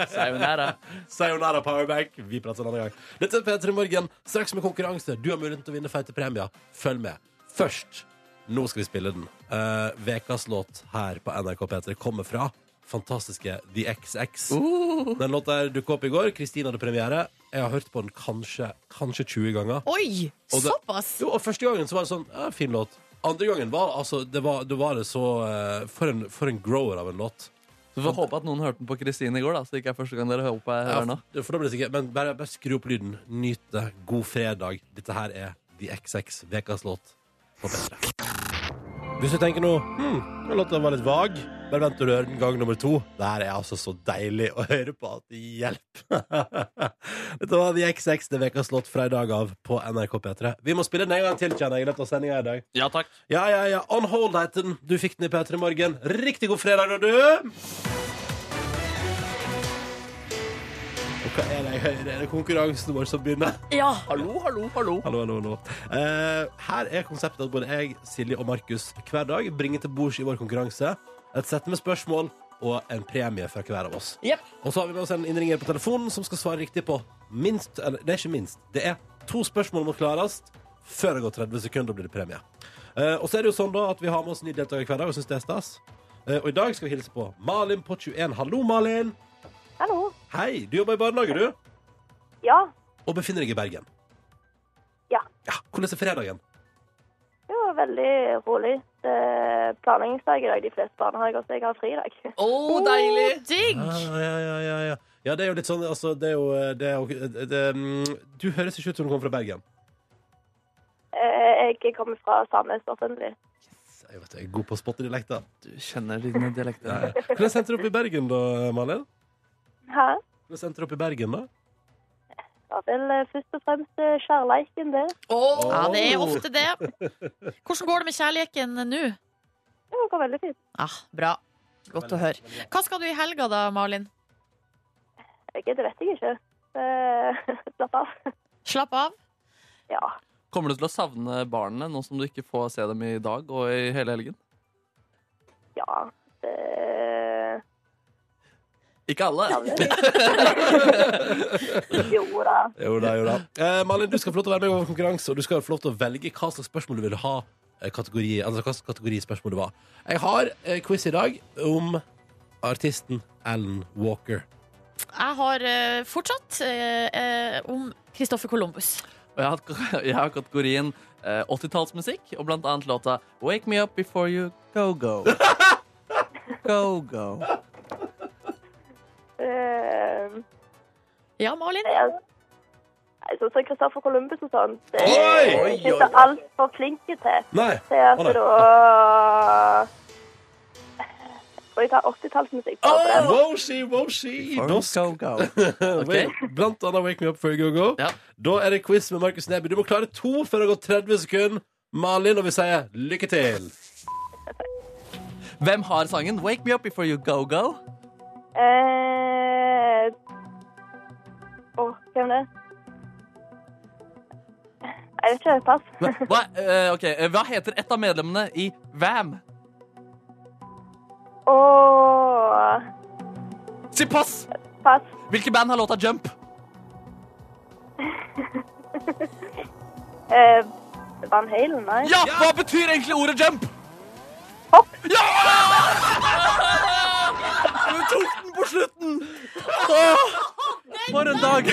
Sayonara.
Sayonara powerbank. Vi prater en annen gang. Dette er P3 Morgen, straks med konkurranse. Du har muligheten til å vinne feite premier. Følg med. Først, nå skal vi spille den. Eh, Vekas låt her på NRK P3 kommer fra fantastiske The XX.
Uh.
Den låta her dukket opp i går. Kristin hadde premiere. Jeg har hørt på den kanskje, kanskje 20 ganger.
Oi!
Og det-
Såpass!
Jo, og første gangen så var det sånn, ja, fin låt. Andre gangen var altså, det, var, det, var det så eh, for, en, for en grower av en låt.
Så vi får håpe at noen hørte den på Kristine i går, da, så det ikke er første gang dere hører på jeg hører nå.
Ja, for da blir det sikkert, men bare, bare skru opp lyden. Nyt det. God fredag. Dette her er The XX, ukas låt på bedre. Hvis du tenker nå hm, den låta var litt vag, bare vent til du hører den gang nummer to. Det her er altså så deilig å høre på at det hjelper. Dette var The XX, det er ukas låt fra i dag av på NRK P3. Vi må spille den en gang til, kjenner jeg, i løpet av sendinga i dag.
Ja takk.
Ja, ja, ja. On hold heter den. Du fikk den i P3 Morgen. Riktig god fredag, da, du! Og hva er det jeg hører? Er det konkurransen vår som begynner?
Ja.
Hallo, hallo, hallo.
Hallo, hallo, hallo. Eh, her er konseptet at både jeg, Silje og Markus hver dag bringer til bords i vår konkurranse et sett med spørsmål og en premie fra hver av oss.
Jepp.
Og så har vi med oss en innringer på telefonen som skal svare riktig på minst Eller det er ikke minst. Det er to spørsmål må klares. Før det går 30 sekunder, blir det premie. Eh, og så er det jo sånn da at vi har med oss nye deltakere hver dag og syns det er stas. Eh, og i dag skal vi hilse på Malin på 21. Hallo, Malin.
Hallo.
Hei. Du jobber i barnehage, du?
Ja.
Og befinner deg i Bergen?
Ja.
ja. Hvordan er fredagen?
Det var veldig rolig. Det er planleggingsdag i dag. De fleste barnehager, så jeg har fri i dag.
Å, deilig!
Digg!
Ja, Ah, ja, ja, ja, ja. ja, det er jo litt sånn altså, det er jo, det er jo, det, mm, Du høres ikke ut som du kommer fra Bergen.
Eh, Jeg kommer fra Sandnes offentlig.
Jeg vet, jeg er god på å spotte dialekter.
Du kjenner dine dialekter.
Hvordan endte du opp i Bergen, da, Malin?
Hæ?
Hvordan endte du opp i Bergen, da?
Det var vel eh, først og fremst eh, kjærleiken, det.
Ja, det er ofte det. Hvordan går det med kjærligheten nå?
Det går veldig fint.
Ah, bra. Godt å høre. Hva skal du i helga da, Malin?
Jeg, det vet jeg ikke. Eh, Slapp av.
Slapp av.
Ja.
Kommer du til å savne barna nå som du ikke får se dem i dag og i hele helgen?
Ja. Eh,
Ikke alle.
Jo da.
Jo da, jo da. Eh, Malin, du skal få lov til å være med i vår konkurranse, og du skal få lov til å velge hva slags spørsmål du vil ha. eh, Kategori, altså hva slags kategori spørsmål det var. Jeg har eh, quiz i dag om artisten Alan Walker.
Jeg har eh, fortsatt eh, eh, om Kristoffer Columbus.
Og jeg har, hatt- jeg har kategorien eh, 80-tallsmusikk og blant annet låta Wake Me Up Before You Go Go. Go Go.
Eh,
Ja, Malin?
jeg- Nei, Sånn som Christoffer Columbus og sånn. Det
Oi!
er jeg ikke så altfor flinke til.
Nei!
Det er
Å, nei.
altså da tror jeg tar 80-tallsmusikk på
Oh,
det.
wow, she, wow, she. Da skal
Ok.
Blant annet Wake Me Up Before You Go Go.
Ja.
Da er det quiz med Markus Neby. Du må klare to før det har gått 30 sekunder. Malin, og vi sier lykke til.
Hvem har sangen Wake Me Up Before You Go Go?
Eh, Å, hvem det er? Jeg vet ikke. Pass.
Hva, hva, eh, ok, eh, hva heter et av medlemmene i VAM?
Åh,
Si pass!
pass.
Hvilke band har låta Jump?
Eh, Van Halen, nei?
Ja! Hva betyr egentlig ordet jump?
Hopp.
Ja! Du tok den på slutten! Åh, for en dag.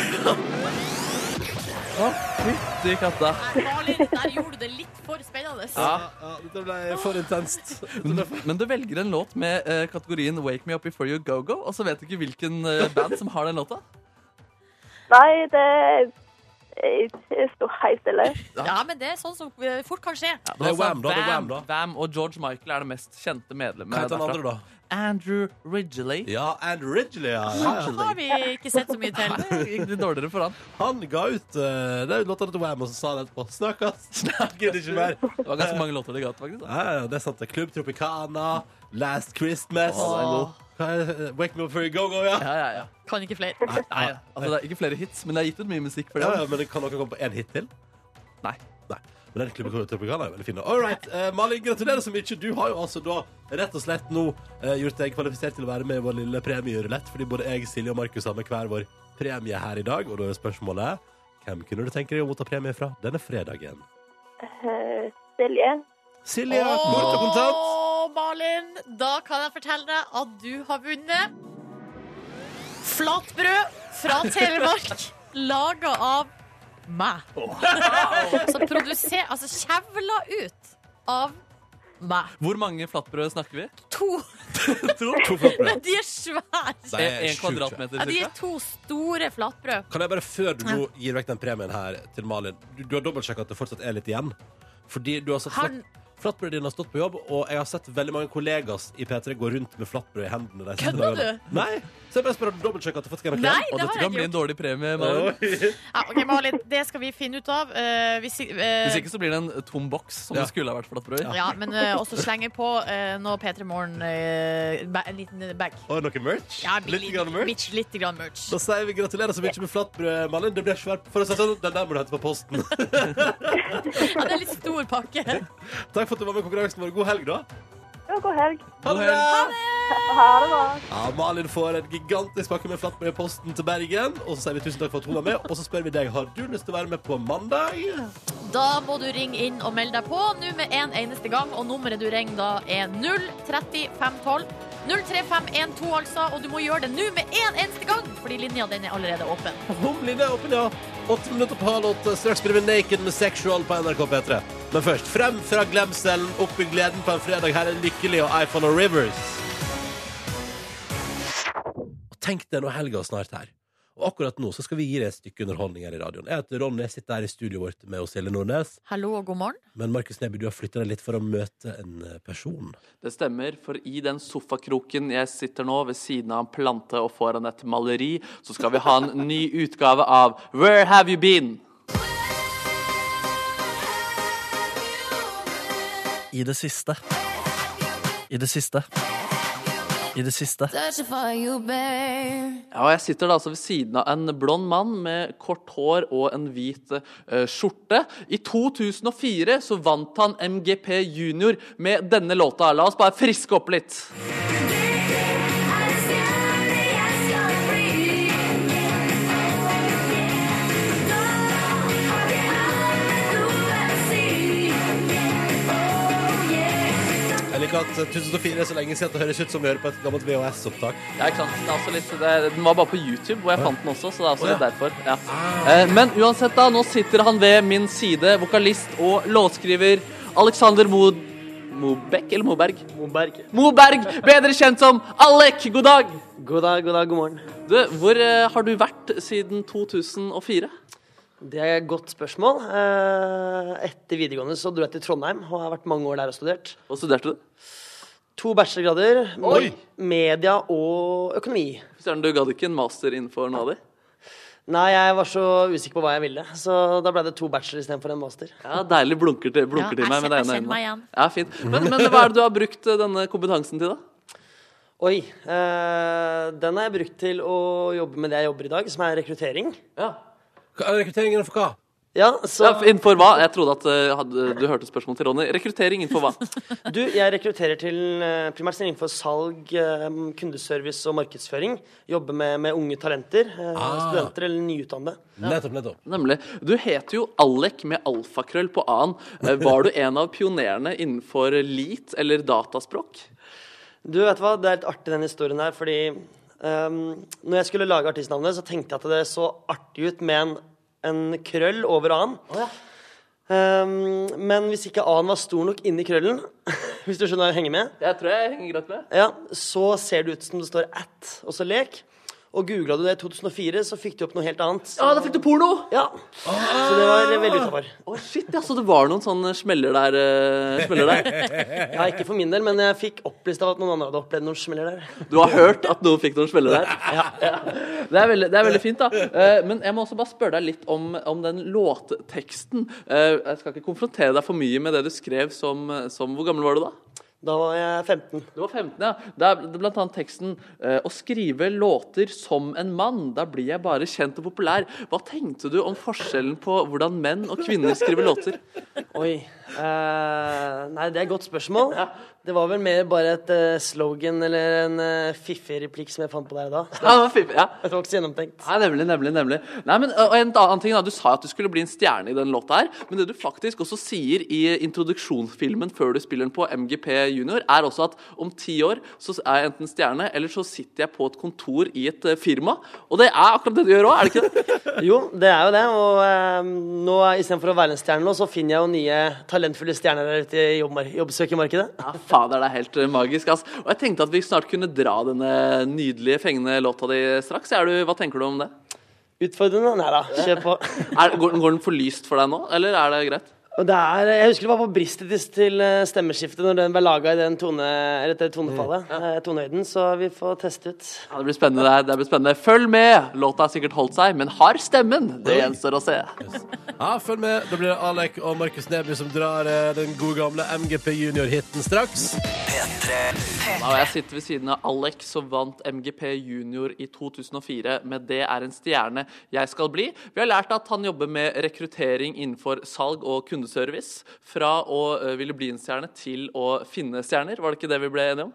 Å, fytti katta.
Eh, Malin, der gjorde du det litt for spennende.
Dette ble Eh, for intenst.
Men du velger en låt med eh, kategorien Wake Me Up Before You Go Go, og så vet du ikke hvilken eh, band som har den låta.
Nei, det Jeg sto helt stille.
Ja, men det er sånn som eh, fort kan skje.
Men altså,
Det er Wham, da, det er Wham, da.
Wham og George Michael er det mest kjente
Hva
medlemmet
heter den andre, da?
Andrew Ridgeley.
Ja, Ann Ridgley. Ja.
Han har vi ikke sett så mye til.
Det gikk litt dårligere for han.
Han ga ut eh, det er låta til Wham, og så sa han etterpå Snakkes! Gidder ikke mer.
Det var ganske mange låter de ga ut, faktisk. Da.
Ja, ja, det er sant. det er Club Tropicana, Last Christmas
Åh,
Hva er det? Eh, Wake Me Up Before You Go Go, ja.
Ja, ja, ja.
Kan ikke flere.
Nei, altså, det er ikke flere hits, men det er gitt ut mye musikk for det.
Ja, ja, men kan dere komme på én hit til?
Nei.
Nei. Men den Club Tropicana er veldig fin. da. All right. eh, Malin, gratulerer så mye. Du har jo altså da rett og slett nå eh, gjort deg kvalifisert til å være med i vår lille premierulett, fordi både jeg, Silje og Markus har med hver vår premie her i dag, og da er spørsmålet hvem kunne du tenke deg å motta premie fra denne fredagen?
Eh, Silje.
Silje, kort og kontant.
Åh, Malin, da kan jeg fortelle deg at du har vunnet flatbrød fra Telemark laga av meg. Så produser Altså kjevla ut av meg.
Hvor mange flatbrød snakker vi?
To.
To flatbrød.
Men de er svære.
Det er
En
sjukt,
kvadratmeter,
Ja, de
cirka.
er to store flatbrød.
Kan jeg bare, før du nå gir vekk den premien her til Malin Du, du har dobbeltsjekka at det fortsatt er litt igjen. Fordi du har satt
Han-
flatt, Flatbrødet din har stått på jobb, og jeg har sett veldig mange kollegas i P3 gå rundt med flatbrød i hendene. de siste
Kødder du?
dagene. Nei! Så jeg bare spør om du dobbeltsjekker at du faktisk er
Og
Nei, det
dette
har jeg
kan
ikke
bli
gjort.
en dårlig premie. Malin.
klem?
Ja, ok, Malin, det skal vi finne ut av. Eh, hvis, eh,
Hvis ikke så blir det en tom boks, som
Ja.
det skulle ha vært flatbrød i.
ja, men eh, også slenge på eh, noe P3 Morgen, eh, ba- en liten bag.
Og noe merch?
Ja,
litt grann merch?
Litt, litt grann merch.
Da sier vi gratulerer så mye med flatbrød, Malin. Det blir svært. For å si det sånn, den der må du hente på posten.
Ja, det er litt stor pakke.
Takk for at du var med i konkurransen vår. God helg, da.
Ja, god helg.
Ha det!
Ha det bra.
Ja, Malin får en gigantisk pakke med flatbrød i posten til Bergen. Og så sier vi tusen takk for at hun var med, og så spør vi deg har du lyst til å være med på mandag.
Da må du ringe inn og melde deg på nå med en eneste gang, og nummeret du ringer da er 03512. 03512, altså, og du må gjøre det nå med en eneste gang, fordi linja den er allerede åpen.
Humlene er åpen, ja. Åtte minutter på halv åtte. Straks blir vi Naked med Sexual på NRK P3. Men først, frem fra glemselen, opp i gleden på en fredag. Her er Lykkelig og iPhone og Rivers. Og tenk deg nå helga snart her. Og akkurat nå så skal vi gi deg et stykke underholdning her i radioen. Jeg heter Ronny, jeg sitter her i studioet vårt med oss, Silje Nordnes.
Hallo og god morgen.
Men Markus Neby, du har flytta deg litt for å møte en eh, person.
Det stemmer, for i den sofakroken jeg sitter nå ved siden av en plante og foran et maleri, så skal vi ha en ny utgave av Where Have You Been?
I det siste. I det siste. I det siste.
Ja, og jeg sitter da altså ved siden av en blond mann med kort hår og en hvit eh, skjorte. I 2004 så vant han MGP Junior med denne låta. La oss bare friske opp litt.
Jeg liker at eh, 1004 er så lenge siden at det høres ut som vi hører på et gammelt VHS-opptak.
Ja, ikke sant. Det er også litt, det, er- den var bare på YouTube hvor jeg fant den også, så det er også
Å, ja. Ah.
litt derfor. Ja. Eh, Men uansett, da. Nå sitter han ved min side, vokalist og låtskriver Alexander Mo... Mobekk eller Moberg?
Moberg.
Moberg! Bedre kjent som Alek! God dag!
God dag, god dag, god morgen.
Du, hvor eh, har du vært siden 2004?
Det er et godt spørsmål. Eh, Etter videregående så dro jeg til Trondheim og har vært mange år der og studert.
Hva studerte du?
To bachelorgrader.
Oi!
Media og økonomi.
Søren, du gadd ikke en master innenfor noe av det?
Nei, jeg var så usikker på hva jeg ville, så da ble det to bachelor istedenfor en master.
Ja, Deilig blunker til, blunker
Ja,
til
jeg
meg med det ene
kjenner- jeg kjenner meg igjen.
Ja, fint. Men, men hva er det du har brukt eh, denne kompetansen til, da?
Oi. Eh, den har jeg brukt til å jobbe med det jeg jobber i dag, som er rekruttering.
Ja.
Hva- Rekrutteringen for hva?
Ja, så
innenfor hva? Jeg trodde at eh, hadde, du hørte spørsmålet til Ronny. Rekruttering innenfor hva?
Du, jeg rekrutterer til eh, primært stilling for salg, eh, kundeservice og markedsføring. Jobber med, med unge talenter. eh,
Ah.
Studenter eller nyutdannede.
Nettopp, nettopp.
Nemlig. Du heter jo Alek med alfakrøll på a-en. Eh, Var du en av pionerene innenfor lit eller dataspråk?
Du, vet du hva? Det er litt artig den historien her, fordi ehm, når jeg skulle lage artistnavnet, så tenkte jeg at det så artig ut med en, en krøll over A-en. Ehm, men hvis ikke A-en var stor nok inni krøllen, hvis du skjønner hva jeg henger med,
Jeg tror jeg henger greit med.
ja, så ser det ut som det står at, og så lek. Og googla du det i 2004, så fikk du opp noe helt annet.
Ja, da fikk du porno!
Ja. Så det var veldig utafor.
Å, shit, ja, Så det var noen sånne smeller der? eh, smeller der.
Ja, ikke for min del, men jeg fikk opplyst av at noen andre hadde opplevd noen smeller der.
Du har hørt at noen fikk noen smeller der? Det er veldig, det er veldig fint, da. Eh, Men jeg må også bare spørre deg litt om, om den låtteksten. Eh, Jeg skal ikke konfrontere deg for mye med det du skrev som, som Hvor gammel var du da?
Da var jeg 15.
Du var 15, ja. Det er blant annet teksten eh, Å skrive låter som en mann, da blir jeg bare kjent og populær. Hva tenkte du om forskjellen på hvordan menn og kvinner skriver låter?
Oi. eh, nei, det er et godt spørsmål. Det var vel mer bare et eh, slogan eller en eh, fiffig replikk som jeg fant på der da.
Ja, det var fiffig, ja.
Det var ikke så gjennomtenkt.
Nei, nemlig, nemlig, nemlig. Nei, men ø, og en annen ting da, Du sa at du skulle bli en stjerne i den låta her, men det du faktisk også sier i introduksjonsfilmen før du spiller den på MGP Junior, er også at om ti år så er jeg enten stjerne, eller så sitter jeg på et kontor i et ø, firma. Og det er akkurat det du gjør òg, er det ikke det?
Jo, det er jo det. Og eh, nå, istedenfor å være en stjerne nå, så finner jeg jo nye talentfulle stjerner der ute i jobbmar- jobbsøkermarkedet.
Ja, fader, det er helt ø, magisk, ass. Og jeg tenkte at vi snart kunne dra denne nydelige, fengende låta di straks. Er du, hva tenker du om det?
Utfordrende? Nei da, kjør på.
Er, går, går den for lyst for deg nå, eller er det greit?
Og det er, eh, jeg husker det var på bristet til, til eh, stemmeskiftet når den ble laga i den tone, eller det tonefallet. eh, Tonehøyden. Så vi får teste ut.
Ja, det blir spennende. det her. Det blir spennende. Følg med! Låta har sikkert holdt seg, men har stemmen? Det gjenstår å se.
Ja, følg med. Da blir det Alek og Markus Neby som drar eh, den gode gamle MGP Junior-hiten straks.
Da jeg sitter ved siden av Alek, som vant MGP Junior i 2004 med 'Det er en stjerne jeg skal bli'. Vi har lært at han jobber med rekruttering innenfor salg og kundeservice. Fra å eh, ville bli en stjerne til å finne stjerner. Var det ikke det vi ble enige om?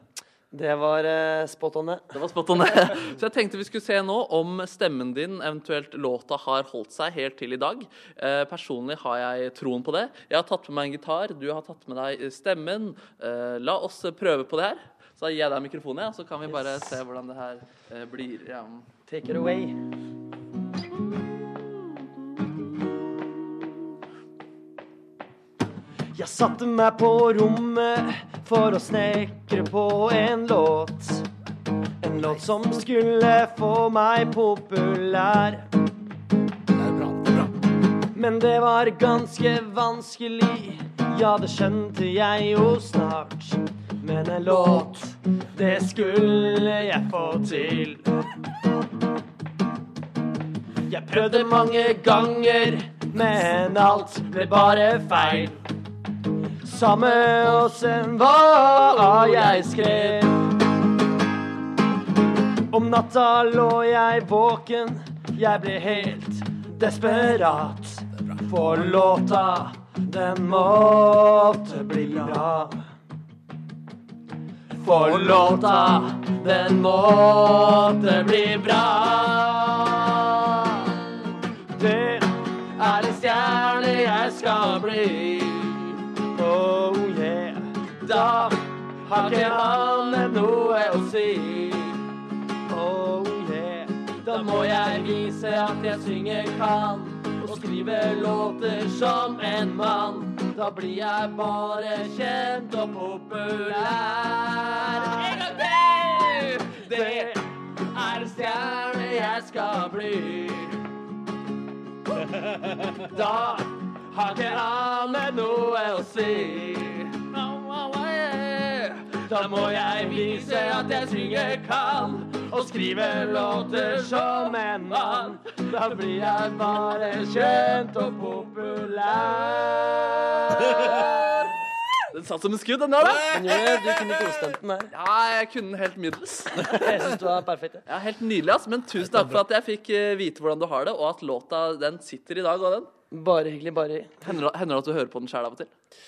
Det var eh, spot on, det.
Det var spot on. Så jeg tenkte vi skulle se nå om stemmen din, eventuelt låta, har holdt seg helt til i dag. Eh, personlig har jeg troen på det. Jeg har tatt med meg en gitar, du har tatt med deg stemmen. Eh, la oss prøve på det her. Så gir jeg deg mikrofonen, ja, så kan vi bare se hvordan det her eh, blir. Ja.
Take it away. Jeg satte meg på rommet for å snekre på en låt. En låt som skulle få meg populær. Men det var ganske vanskelig, ja det skjønte jeg jo snart. Men en låt, det skulle jeg få til. Jeg prøvde mange ganger, men alt ble bare feil. Samme åssen hva jeg skrev. Om natta lå jeg våken, jeg ble helt desperat. For låta, den måtte bli bra. For låta, den måtte bli bra. Det er en stjerne jeg skal bli. Oh yeah. Da har ikke annet noe å si. Oh yeah. Da må jeg vise at jeg synger kan. Og skrive låter som en mann. Da blir jeg bare kjent og populær. En gang til! Det er en stjerne jeg skal bli. Da har ikke annet noe å si. Da må jeg vise at jeg synger kan, og skrive låter som en mann. Da blir jeg bare kjent og populær.
Den satt som en skudd, den der, da. Den gjør, du kunne godstemt den der.
Ja, jeg kunne den helt middels.
Jeg synes du er perfekt.
Ja, helt nydelig, ass. Men tusen takk for at jeg fikk eh, vite hvordan du har det, og at låta den sitter i dag. Og den.
ja. Bare hyggelig, bare hyggelig.
Hender, det- hender det at du hører på den sjæl av og til?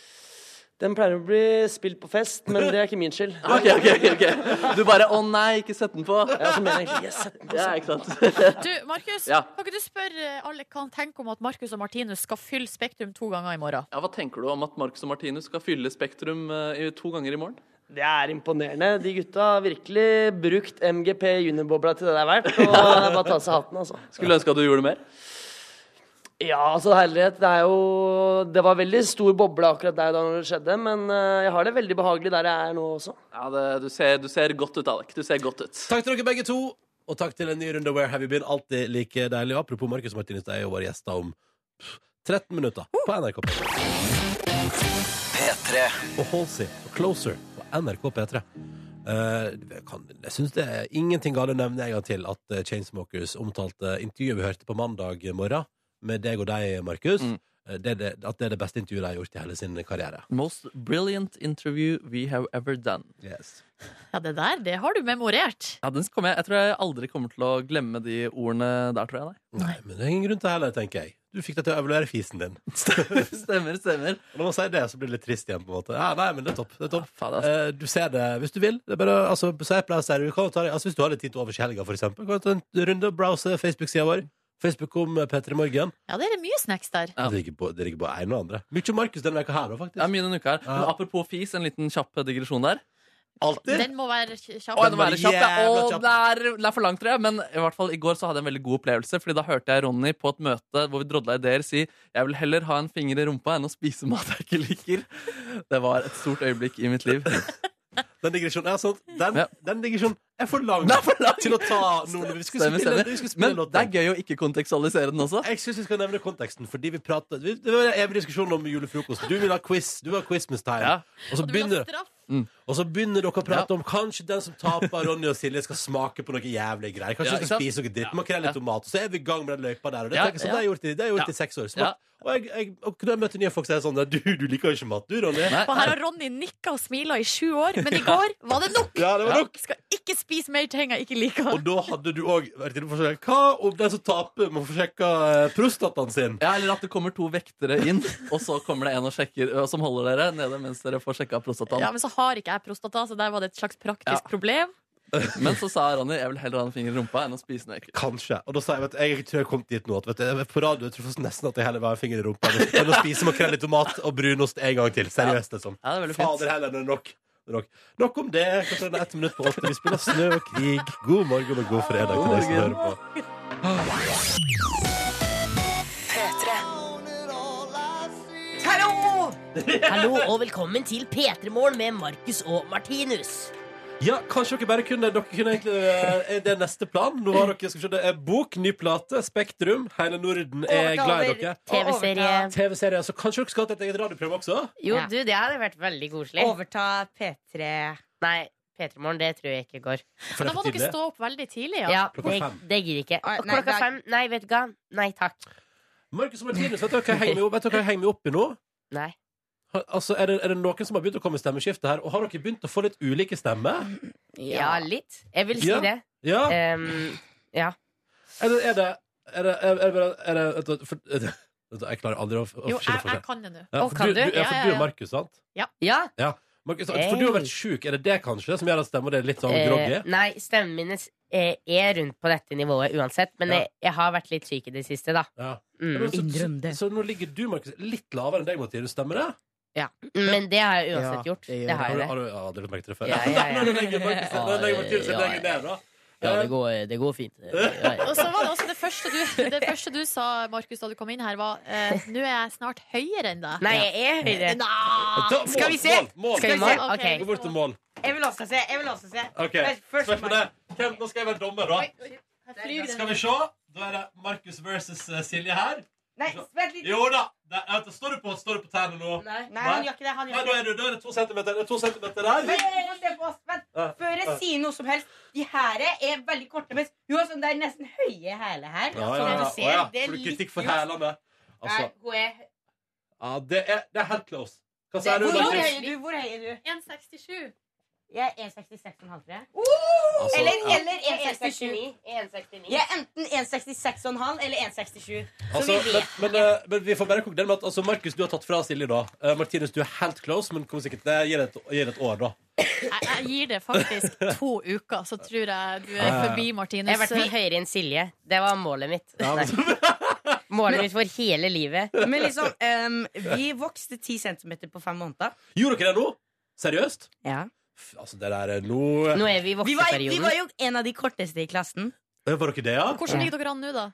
Den pleier å bli spilt på fest, men det er ikke min skyld.
Ok, ok, ok, ok. Du bare 'Å nei, ikke sett den på'.
Jeg også mener egentlig, yes, sett den på.
Ja, ikke sant?
Du, Markus,
Ja.
kan ikke du spørre eh, alle hva han tenker om at Markus og Martinus skal fylle Spektrum to ganger i morgen?
Ja, Hva tenker du om at Marcus og Martinus skal fylle Spektrum eh, i- to ganger i morgen?
Det er imponerende. De gutta har virkelig brukt MGP juniorbobla til det det er verdt. Og det er bare å ta seg hatten, altså.
Skulle ønske at du gjorde mer.
Ja, altså herlighet. Det er jo Det var veldig stor boble akkurat der da når det skjedde, men eh, jeg har det veldig behagelig der jeg er nå også.
Ja, det, du, ser, du ser godt ut, Alek. Du ser godt ut.
Takk til dere begge to, og takk til en ny runde Where Have You Been. Alltid like deilig. Og apropos Markus Martinus, de er jo våre gjester om pff, 13 minutter på NRK P3. Og Halsey og Closer på NRK P3. Eh, jeg kan, jeg synes det er ingenting galt å nevne en gang til at eh, Chainsmokers omtalte intervjuet vi hørte på mandag morgen med deg og deg, Markus.
Mm.
Eh, Det, er det, at det er det beste intervjuet de har gjort i hele sin karriere.
Most brilliant interview we have ever done.
Ja, det der, det har du memorert.
Ja, den kommer jeg, jeg tror jeg aldri kommer til å glemme de ordene der, tror jeg. Nei.
Nei, men det er ingen grunn til det heller, tenker jeg. Du fikk deg til å evaluere fisen din.
Stemmer, stemmer.
Og Når man sier det, så blir det litt trist igjen. på en måte ja, Nei, men det er topp. Det er topp.
Faen, altså. ass.
Eh, du ser det hvis du vil. Det er bare, altså, så jeg pleier å si det, du kan jo ta, det- altså, Hvis du har litt tid til overs i helga, for eksempel, kan du ta en runde og browse Facebook-sida vår. Facebook om P3 Morgen.
Ja, det er mye snacks der.
Ja.
Det ligger på det ligger på en og andre. Mye Markus denne veka her òg, faktisk.
Det er mye denne uka her. Men
Ja.
apropos fis, en liten kjapp digresjon der.
Alltid.
Den må være kj- kjapp.
Å, den må være kjapp, ja.
Jævla
Å,
kjapp.
det, er, det er for langt, tror jeg. Men i hvert fall i går så hadde jeg en veldig god opplevelse. Fordi da hørte jeg Ronny på et møte hvor vi drodla ideer si jeg vil heller ha en finger i rumpa enn å spise mat jeg ikke liker. Det var et stort øyeblikk i mitt liv.
Den digresjonen er sånn. Den,
Ja.
den digresjonen er for lang
Den er for lang.
til å ta noen Vi skulle
Stemmer,
spille,
stemmer.
vi skulle spille
Men
låten.
det er gøy å ikke kontekstualisere den også.
Jeg syns vi skal nevne konteksten, fordi vi prater vi- Det var en evig diskusjon om julefrokost. Du vil ha quiz. Du vil ha Christmas time.
Ja.
Og så
Du vil
begynner
ha straff.
Og så begynner dere å prate om kanskje den som taper Ronny og Silje skal smake på noe jævlig greier. Kanskje
Ja,
de
ikke
skal
sant?
spise noe dritt. Makrell i
Ja.
tomat. Og så er vi i gang med den løypa der. Og det,
Ja,
tenker jeg sånn, det har jeg gjort, i, det har jeg gjort i seks år. Smakt.
Ja.
Og, jeg, jeg, og når jeg møter nye folk, så er jeg sånn Du, du liker jo ikke mat, du, Ronny.
Nei,
Og her har Ronny nikka og smila i sju år, men i går var det nok!
Ja, det var nok.
Skal ikke spise mer ting jeg ikke liker.
Og da hadde du òg vært inne på forskjell. Hva om den som taper, må få sjekka eh, prostataen sin?
Ja, Eller at det kommer to vektere inn, og så kommer det en og sjekker, ø, som holder dere nede mens dere får sjekka prostataen.
Ja, men så har ikke jeg prostata, så der var det et slags
Ja.
praktisk problem.
Men så sa Ronny jeg vil heller ha en finger i rumpa enn å spise noe ekkelt.
Kanskje. Og da sa jeg vet, du, jeg tror jeg kom dit nå at vet du, jeg- på radio jeg tror jeg nesten at jeg heller vil ha en finger i rumpa enn å- enn å spise makrell i tomat og brunost en gang til. Seriøst, liksom.
Ja, det er veldig fint.
Fader heller, det er nok. Det er nok. Nok om det. Klokka er ett minutt på åtte. Vi spiller Snø og krig. God morgen og god fredag til deg som hører på.
Hallo og velkommen til P3morgen med Markus og Martinus.
Ja, kanskje dere bare kunne Dere kunne egentlig eh, Er det neste plan? Nå har dere skal vi se, det er bok, ny plate, Spektrum. Hele Norden er glad i dere.
TV-serie.
TV-serier. Så kanskje dere skal ha et eget radioprogram også?
Jo, du, det hadde vært veldig koselig. Overta P3 Nei, P3morgen, det tror jeg ikke går.
For det
Da
er
må
for
dere
tidlig.
stå opp veldig tidlig.
Ja,
Ja.
Klokka
det,
fem.
det gidder ikke.
Å,
Og
nei,
klokka
nei.
fem? Nei, vet du hva. Nei takk.
Markus og Martinus, vet du hva jeg henger meg opp- vet du hva jeg henger meg opp i nå?
Nei.
Har- Altså, er det, er det noen som har begynt å komme i stemmeskiftet her? Og har dere begynt å få litt ulike stemmer?
Ja, litt. Jeg vil si
Ja.
det.
Ja?
Ehm, ja.
Eller er det Er det, er det, er det, er det, er det for, er det, Vet du, Jeg klarer aldri å, å
Jo,
skille
jeg,
forskjell.
jeg kan det nå.
Ja,
Å,
for
kan
du,
du?
du, ja,
Ja,
for
ja,
du er
ja.
Markus, sant?
ja.
Markus, for du har vært sjuk. Er det det kanskje som gjør at stemma di er litt sånn groggy?
Eh, nei, stemmen min er s- eh, er rundt på dette nivået uansett. Men
Ja.
jeg, jeg har vært litt syk i det siste, da.
Ja.
Mm.
Men Så, så, så nå ligger du, Markus, litt lavere enn deg, Martinus. Stemmer det?
Men det har jeg uansett gjort. Det, har
Har
jeg
du,
det.
har du, ja, du har merket det før?
Ja, ja, ja.
Nå legger Markus nå legger Martinus seg lenger ned, da.
går, fint.
Og så var det også det første du, det første du sa, Markus, da du kom inn her, var eh, Nå er jeg snart høyere enn deg.
Nei, jeg er høyere.
Da- mål,
Skal vi se?
Eh, Mål, mål.
Skal vi
mål.
se?
Ok.
Ok.
Gå bort til mål.
Jeg vil også se. Jeg vil også se.
OK.
Først- først
Slipp med det. Hvem, nå skal jeg være dommer, da.
Flyr den.
Skal vi se. Da er det Markus versus eh, Silje her.
Nei, vent litt.
Jo da! Der, vent, står, du på, står du på tærne nå?
Nei, han gjør ikke det. Han
Nei, da
gjør ikke
er,
det.
du, da er det to centimeter, det er to centimeter der.
Vent, du må se på oss, vent.
Ja,
Før jeg
ja.
sier noe som helst De her er veldig korte, mens hun har sånn der nesten høye hæler her.
Ja, ja,
Som
ja.
du ser,
Å, ja.
det er
Får du
litt-
kritikk for hælene? Altså,
Nei, hun er
ja, det er, det er helt close. Hva sier du?
Hvor høy
Markus?
er du? Hvor høy er du? 1,67. Jeg er 1,66,5, tror jeg.
Altså,
eller
ja.
eller 1,67. Jeg er enten 1,66,5 eller 1,67. Så
Altså,
vi
men,
vet.
men, eh, men vi får bare koke den med at altså, Markus, du har tatt fra Silje, da. Eh, Martinus, du er helt close, men kom sikkert, det gir et, gir et år, da.
Jeg, jeg gir det faktisk to uker, så tror jeg du er
Ja.
forbi Martinus. eh,
Ah. Jeg har vært mye høyere enn Silje. Det var målet mitt.
Ja, men-
Nei. Målet mitt for hele livet.
Men liksom, ehm, vi vokste 10 cm på fem måneder.
Gjorde dere det nå? Seriøst?
Ja.
F, altså, det der er noe
Nå er vi
Vi
i
var, vi
vokseperioden.
var jo en av de korteste i klassen.
Eh, Var dere det, ja?
dere an nå, da?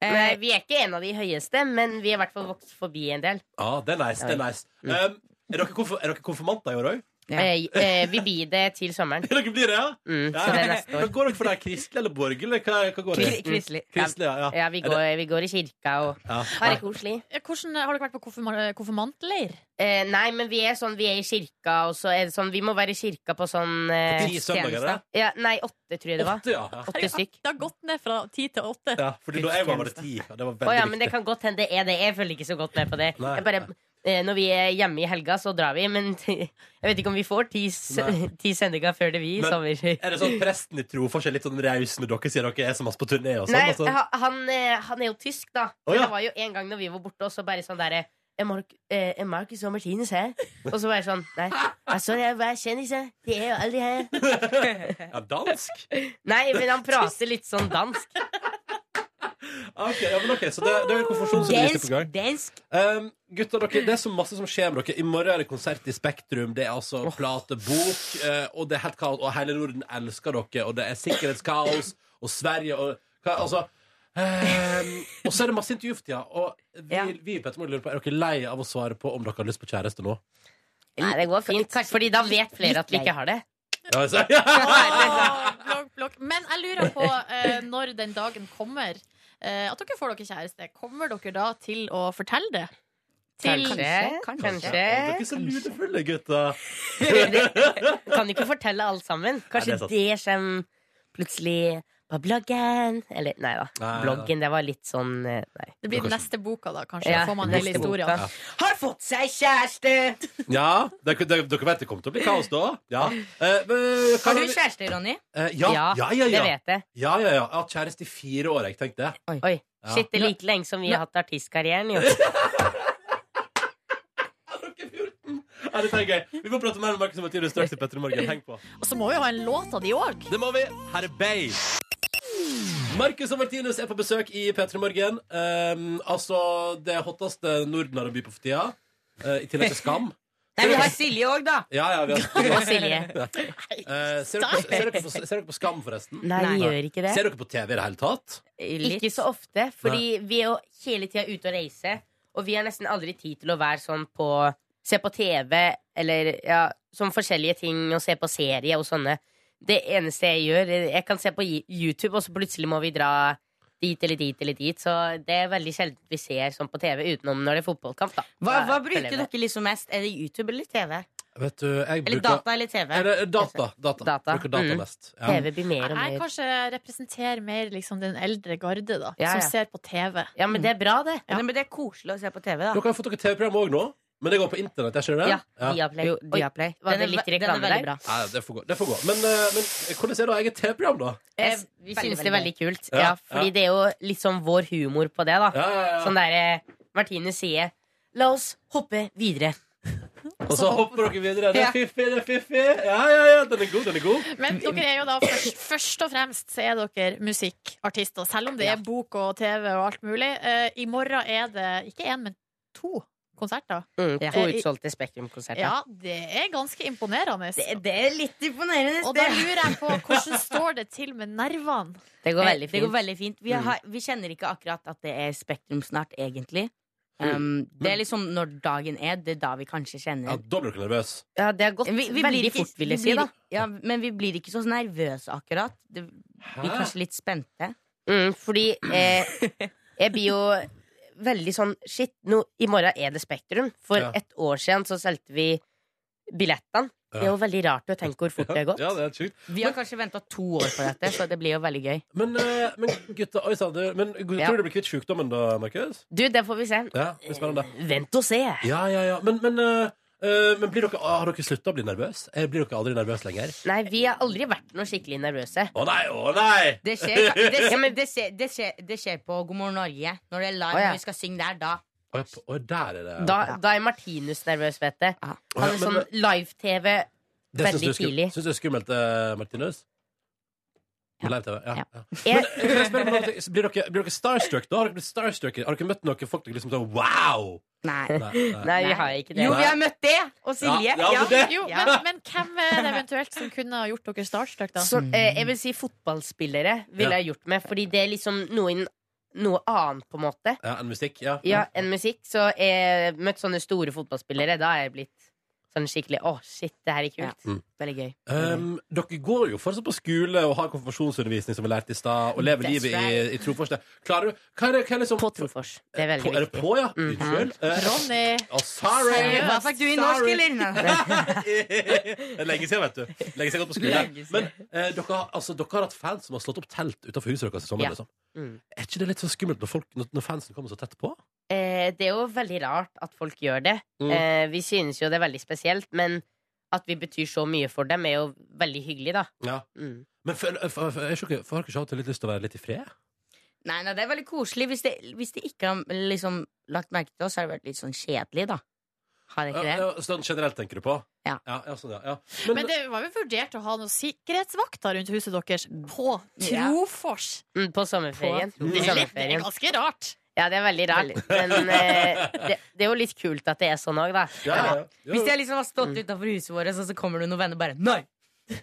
Eh,
Nei, vi er ikke en av de høyeste, men vi er i hvert fall vokst forbi en del.
Ja, Ah, det er nice. det Er nice um, er, dere konf er dere konfirmanter i år òg?
Eh, eh, vi blir det til sommeren.
Dere blir det, ja?
Mm,
Mm,
så det er neste år.
Hva går dere for der? Kristelig eller borgerlig? Hva, hva går det?
Kristelig. Kristelig.
Kristelig, ja, ja.
Ja, vi
Er
går,
det-
vi går i kirka og
Ja.
har det koselig.
Eh, Hvordan, har dere vært på konfirma- konfirmantleir?
Eh, nei, men vi er sånn, vi er i kirka, og så er det sånn, vi må være i kirka på sånn eh,
På ti søndager, eller?
Ja, nei, åtte, tror jeg det var.
Åtte, ja. Ja.
Åtte stykk.
Det har gått ned fra ti til åtte.
Ja, fordi da jeg var bare ti. Ja, det var
Å
veldig
ja, men det
viktig.
kan godt hende det er det. Jeg følger ikke så godt med på det.
Nei.
Jeg bare, eh, når vi er hjemme i helga, så drar vi, men jeg vet ikke om vi får ti, s-
Nei.
ti sendinger før det vi i
Men
sommer.
Er det sånn at presten i Trofors er litt sånn raus med dere, sier dere er så masse på turné og sånn?
Nei,
altså?
ha- han, eh, han er jo tysk, da.
Å,
Men
ja.
Det var jo en gang når vi var borte, og så bare sånn derre er Mark, eh, er Marcus og Martinus her? Og så bare sånn Nei, altså, jeg er bare kjendis, jeg. De er jo aldri her.
Ja, dansk?
Nei, men han prater litt sånn dansk.
Ah, Ok, ja, men ok, så det, det er konfirmasjonsundervisning på gang.
Dansk.
Um, gutter, dere, det er så masse som skjer med dere. I morgen er det konsert i Spektrum. Det er altså plate, bok, eh, og det er helt kaos. Og hele Norden elsker dere, og det er sikkerhetskaos, og Sverige og hva, Altså ehm, Og så er det masse intervju for tida, og vi, vi i Petter Morgen lurer på er dere lei av å svare på om dere har lyst på kjæreste nå?
Nei, det går fint. Fordi da vet flere at vi ikke har det.
Ja, altså, ja.
Blokk, blokk. Men jeg lurer på eh, når den dagen kommer. eh, at dere får dere kjæreste. Kommer dere da til å fortelle det? Til-
Kanskje,
Kanskje.
Ja, Dere er så lurefulle, gutter.
Kan jo ikke fortelle alt sammen. Kanskje
Nei,
det, kommer plutselig på bloggen. Eller nei da.
Nei,
bloggen, det var litt sånn eh, Nei.
Det blir den neste boka, da, kanskje.
Ja,
får man
neste
hele
boka.
historien.
Ja.
Har fått seg kjæreste!
Ja, dere, dere, dere vet det kommer til å bli kaos da. Ja. Eh, men,
Har du kjæreste, Ronny?
Eh, ja, ja, ja, ja,
det vet jeg.
Ja, ja, ja. Jeg har hatt kjæreste i fire år, jeg tenkte det.
Oi,
Ja.
Shit, det er like lenge som vi har hatt artistkarrieren, jo.
Ja, dette er gøy. Vi får prate mer med Markus og Martinus straks i Petter i morgen. Heng på.
Og så må vi jo ha en låt av de òg.
Det må vi. Her er Bay. Markus og Martinus er på besøk i P3 Morgen. Um, altså det hotteste Norden har å by på for tida. Eh, I tillegg til Skam.
Nei, vi har Silje òg, da.
Ja, ja, vi har
Og Silje.
Ja. Eh, ser, dere på, ser, dere på, ser dere på Skam, forresten?
Nei, vi gjør ikke det.
Ser dere på TV i det hele tatt?
Ikke så ofte, fordi vi er jo hele tida ute og reiser. Og vi har nesten aldri tid til å være sånn på Se på TV eller ja, sånn forskjellige ting, og se på serie og sånne. Det eneste jeg gjør Jeg kan se på Yi- YouTube, og så plutselig må vi dra dit eller dit eller dit. Så det er veldig sjelden vi ser sånn på TV utenom når det er fotballkamp, da.
Hva, hva
Da følger
bruker
jeg med.
dere liksom mest? Er det YouTube eller TV?
Vet du, jeg
Eller
bruker
data eller TV?
Eller eh, data. data. Bruker data
Mm.
mest.
TV blir mer og
Jeg
mer
kanskje representerer mer liksom, den eldre garde, da.
Ja, ja.
Som ser på TV.
Ja, men det er bra, det.
Ja. Men det er koselig å se på TV, da.
Dere har fått dere TV-program òg nå, men det går på internett? Jeg skjønner det?
Ja, Viaplay. Jo, Viaplay.
Var det litt reklame
veldig
der?
bra.
Nei, det får gå. Det får gå. Men, eh, men hvordan er da eget TV-program, da?
Jeg, vi synes det er veldig kult.
Ja,
Ja, fordi
ja.
det er jo litt sånn vår humor på det, da.
ja.
Sånn derre Martine sier La oss hoppe videre.
Og så hopper dere videre. Det
Ja.
er fiffig, det er fiffig. Ja, ja, ja, den er god, den er god.
Men dere er jo da først, først og fremst så er dere musikkartister, selv om det er bok og TV og alt mulig. Eh, I morgen er det ikke én, men to konserter.
Mm,
Ja.
to utsolgte Spektrum-konserter.
Ja, det er ganske imponerende. Det,
er litt imponerende.
Og da lurer jeg på hvordan står det til med nervene?
Det går veldig
Det
fint.
går veldig fint. Vi,
Mm.
har, vi kjenner ikke akkurat at det er Spektrum snart, egentlig.
Mm.
Um, det er liksom når dagen er, det er da vi kanskje kjenner.
Ja, da blir dere nervøs.
Ja, det har gått veldig
ikke-
fort, vil jeg
vi
si,
blir-
da.
Ja, men vi blir ikke så nervøse akkurat. Det, vi blir
Hæ?
kanskje litt spente.
Mm, fordi eh, jeg blir jo
veldig sånn Shit, nå, i morgen er det Spektrum. For
Ja.
et år siden så solgte vi billettene.
Ja.
Det er jo veldig rart å tenke hvor fort det har gått.
Ja, det er helt sjukt.
Vi har kanskje venta to år på dette, så det blir jo veldig gøy.
Men, eh, men gutta, oi sann, du- men gu-
Ja.
tror du du blir kvitt sjukdommen da, Markus?
Du, det får vi se.
Ja, det er spennende.
Vent og se.
Ja, ja, ja. Men, men, eh, eh, men blir dere, har dere slutta å bli nervøse? Blir dere aldri nervøse lenger?
Nei, vi har aldri vært noe skikkelig nervøse.
Å nei, å nei!
Det skjer, det, skjer, det, skjer, det, skjer, det skjer på God morgen Norge. Når det er live,
Å, ja.
når vi skal synge der, da.
Å, ja, på- å, der er det
Da, da er Martinus nervøs, vet du. Han
Ja,
er
men-
sånn live-TV
Det syns du,
veldig
er skum-
tidlig.
syns du er skummelt, eh, Martinus? På live-TV? Ja. ja.
Jeg-
Men, eh, kan jeg spørre om noe? blir, dere, blir dere starstruck da? Har dere blitt starstruck? Har dere møtt noen folk dere liksom sånn wow?
Nei.
Nei, vi har ikke det.
Jo, vi har møtt det! Og Silje.
Ja, ja, men det-
Jo, men, men hvem er det eventuelt som kunne ha gjort dere starstruck, da?
Så, eh, jeg vil si fotballspillere ville
Ja.
jeg gjort med, fordi det er liksom noe, inn- noe annet, på en måte,
Ja, en musikk? Ja.
ja, enn musikk. Så jeg møtt sånne store fotballspillere. Da er jeg blitt sånn skikkelig Å, shit, det her er kult.
Mm.
Veldig gøy.
Um, dere går jo fortsatt på skole og har konfirmasjonsundervisning, som vi lærte i stad, og lever
That's
livet
right.
i, i trofors. der. Klarer du hva er det, hva er liksom, På
trofors. Det er veldig
på, er det
viktig.
på, ja? Unnskyld. Eh,
Ronny.
å, sorry!
Seriøst? Hva fikk du i norsk,
Sorry.
eller?
det er lenge siden, vet du. Lenge siden jeg har gått på skole.
Lenge siden.
Men eh, dere, har- altså, dere har hatt fans som har slått opp telt utenfor huset deres i sommer.
Ja.
Liksom.
Mm.
Er ikke det litt så skummelt når, folk, når- når fansen kommer så tett på?
Eh, det er jo veldig rart at folk gjør det.
Mm.
Eh, vi synes jo det er veldig spesielt, men at vi betyr så mye for dem, er jo veldig hyggelig, da.
Ja.
Mm.
Men for, for, for, er ikke dere- for har dere ikke hatt litt lyst til å være litt i fred?
Nei, nei, det er veldig koselig. Hvis de, hvis de ikke har liksom, lagt merke til oss, så har det vært litt sånn kjedelig, da. Har det ikke det?
Ja, ja, sånn generelt tenker du på?
Ja.
ja, sånn, ja, ja.
Men, det var jo vurdert å ha noen sikkerhetsvakter rundt huset deres
Mm.
på
Ja.
Trofors.
Mm, på sommerferien.
På-
I
Det er litt- det er
sommerferien.
ganske rart.
Ja, det er veldig rart. Men eh, det, det er jo litt kult at det er sånn òg, da. Mm.
Ja, ja, ja.
Hvis jeg liksom har stått utenfor huset vårt, og så kommer det noen venner bare Nei!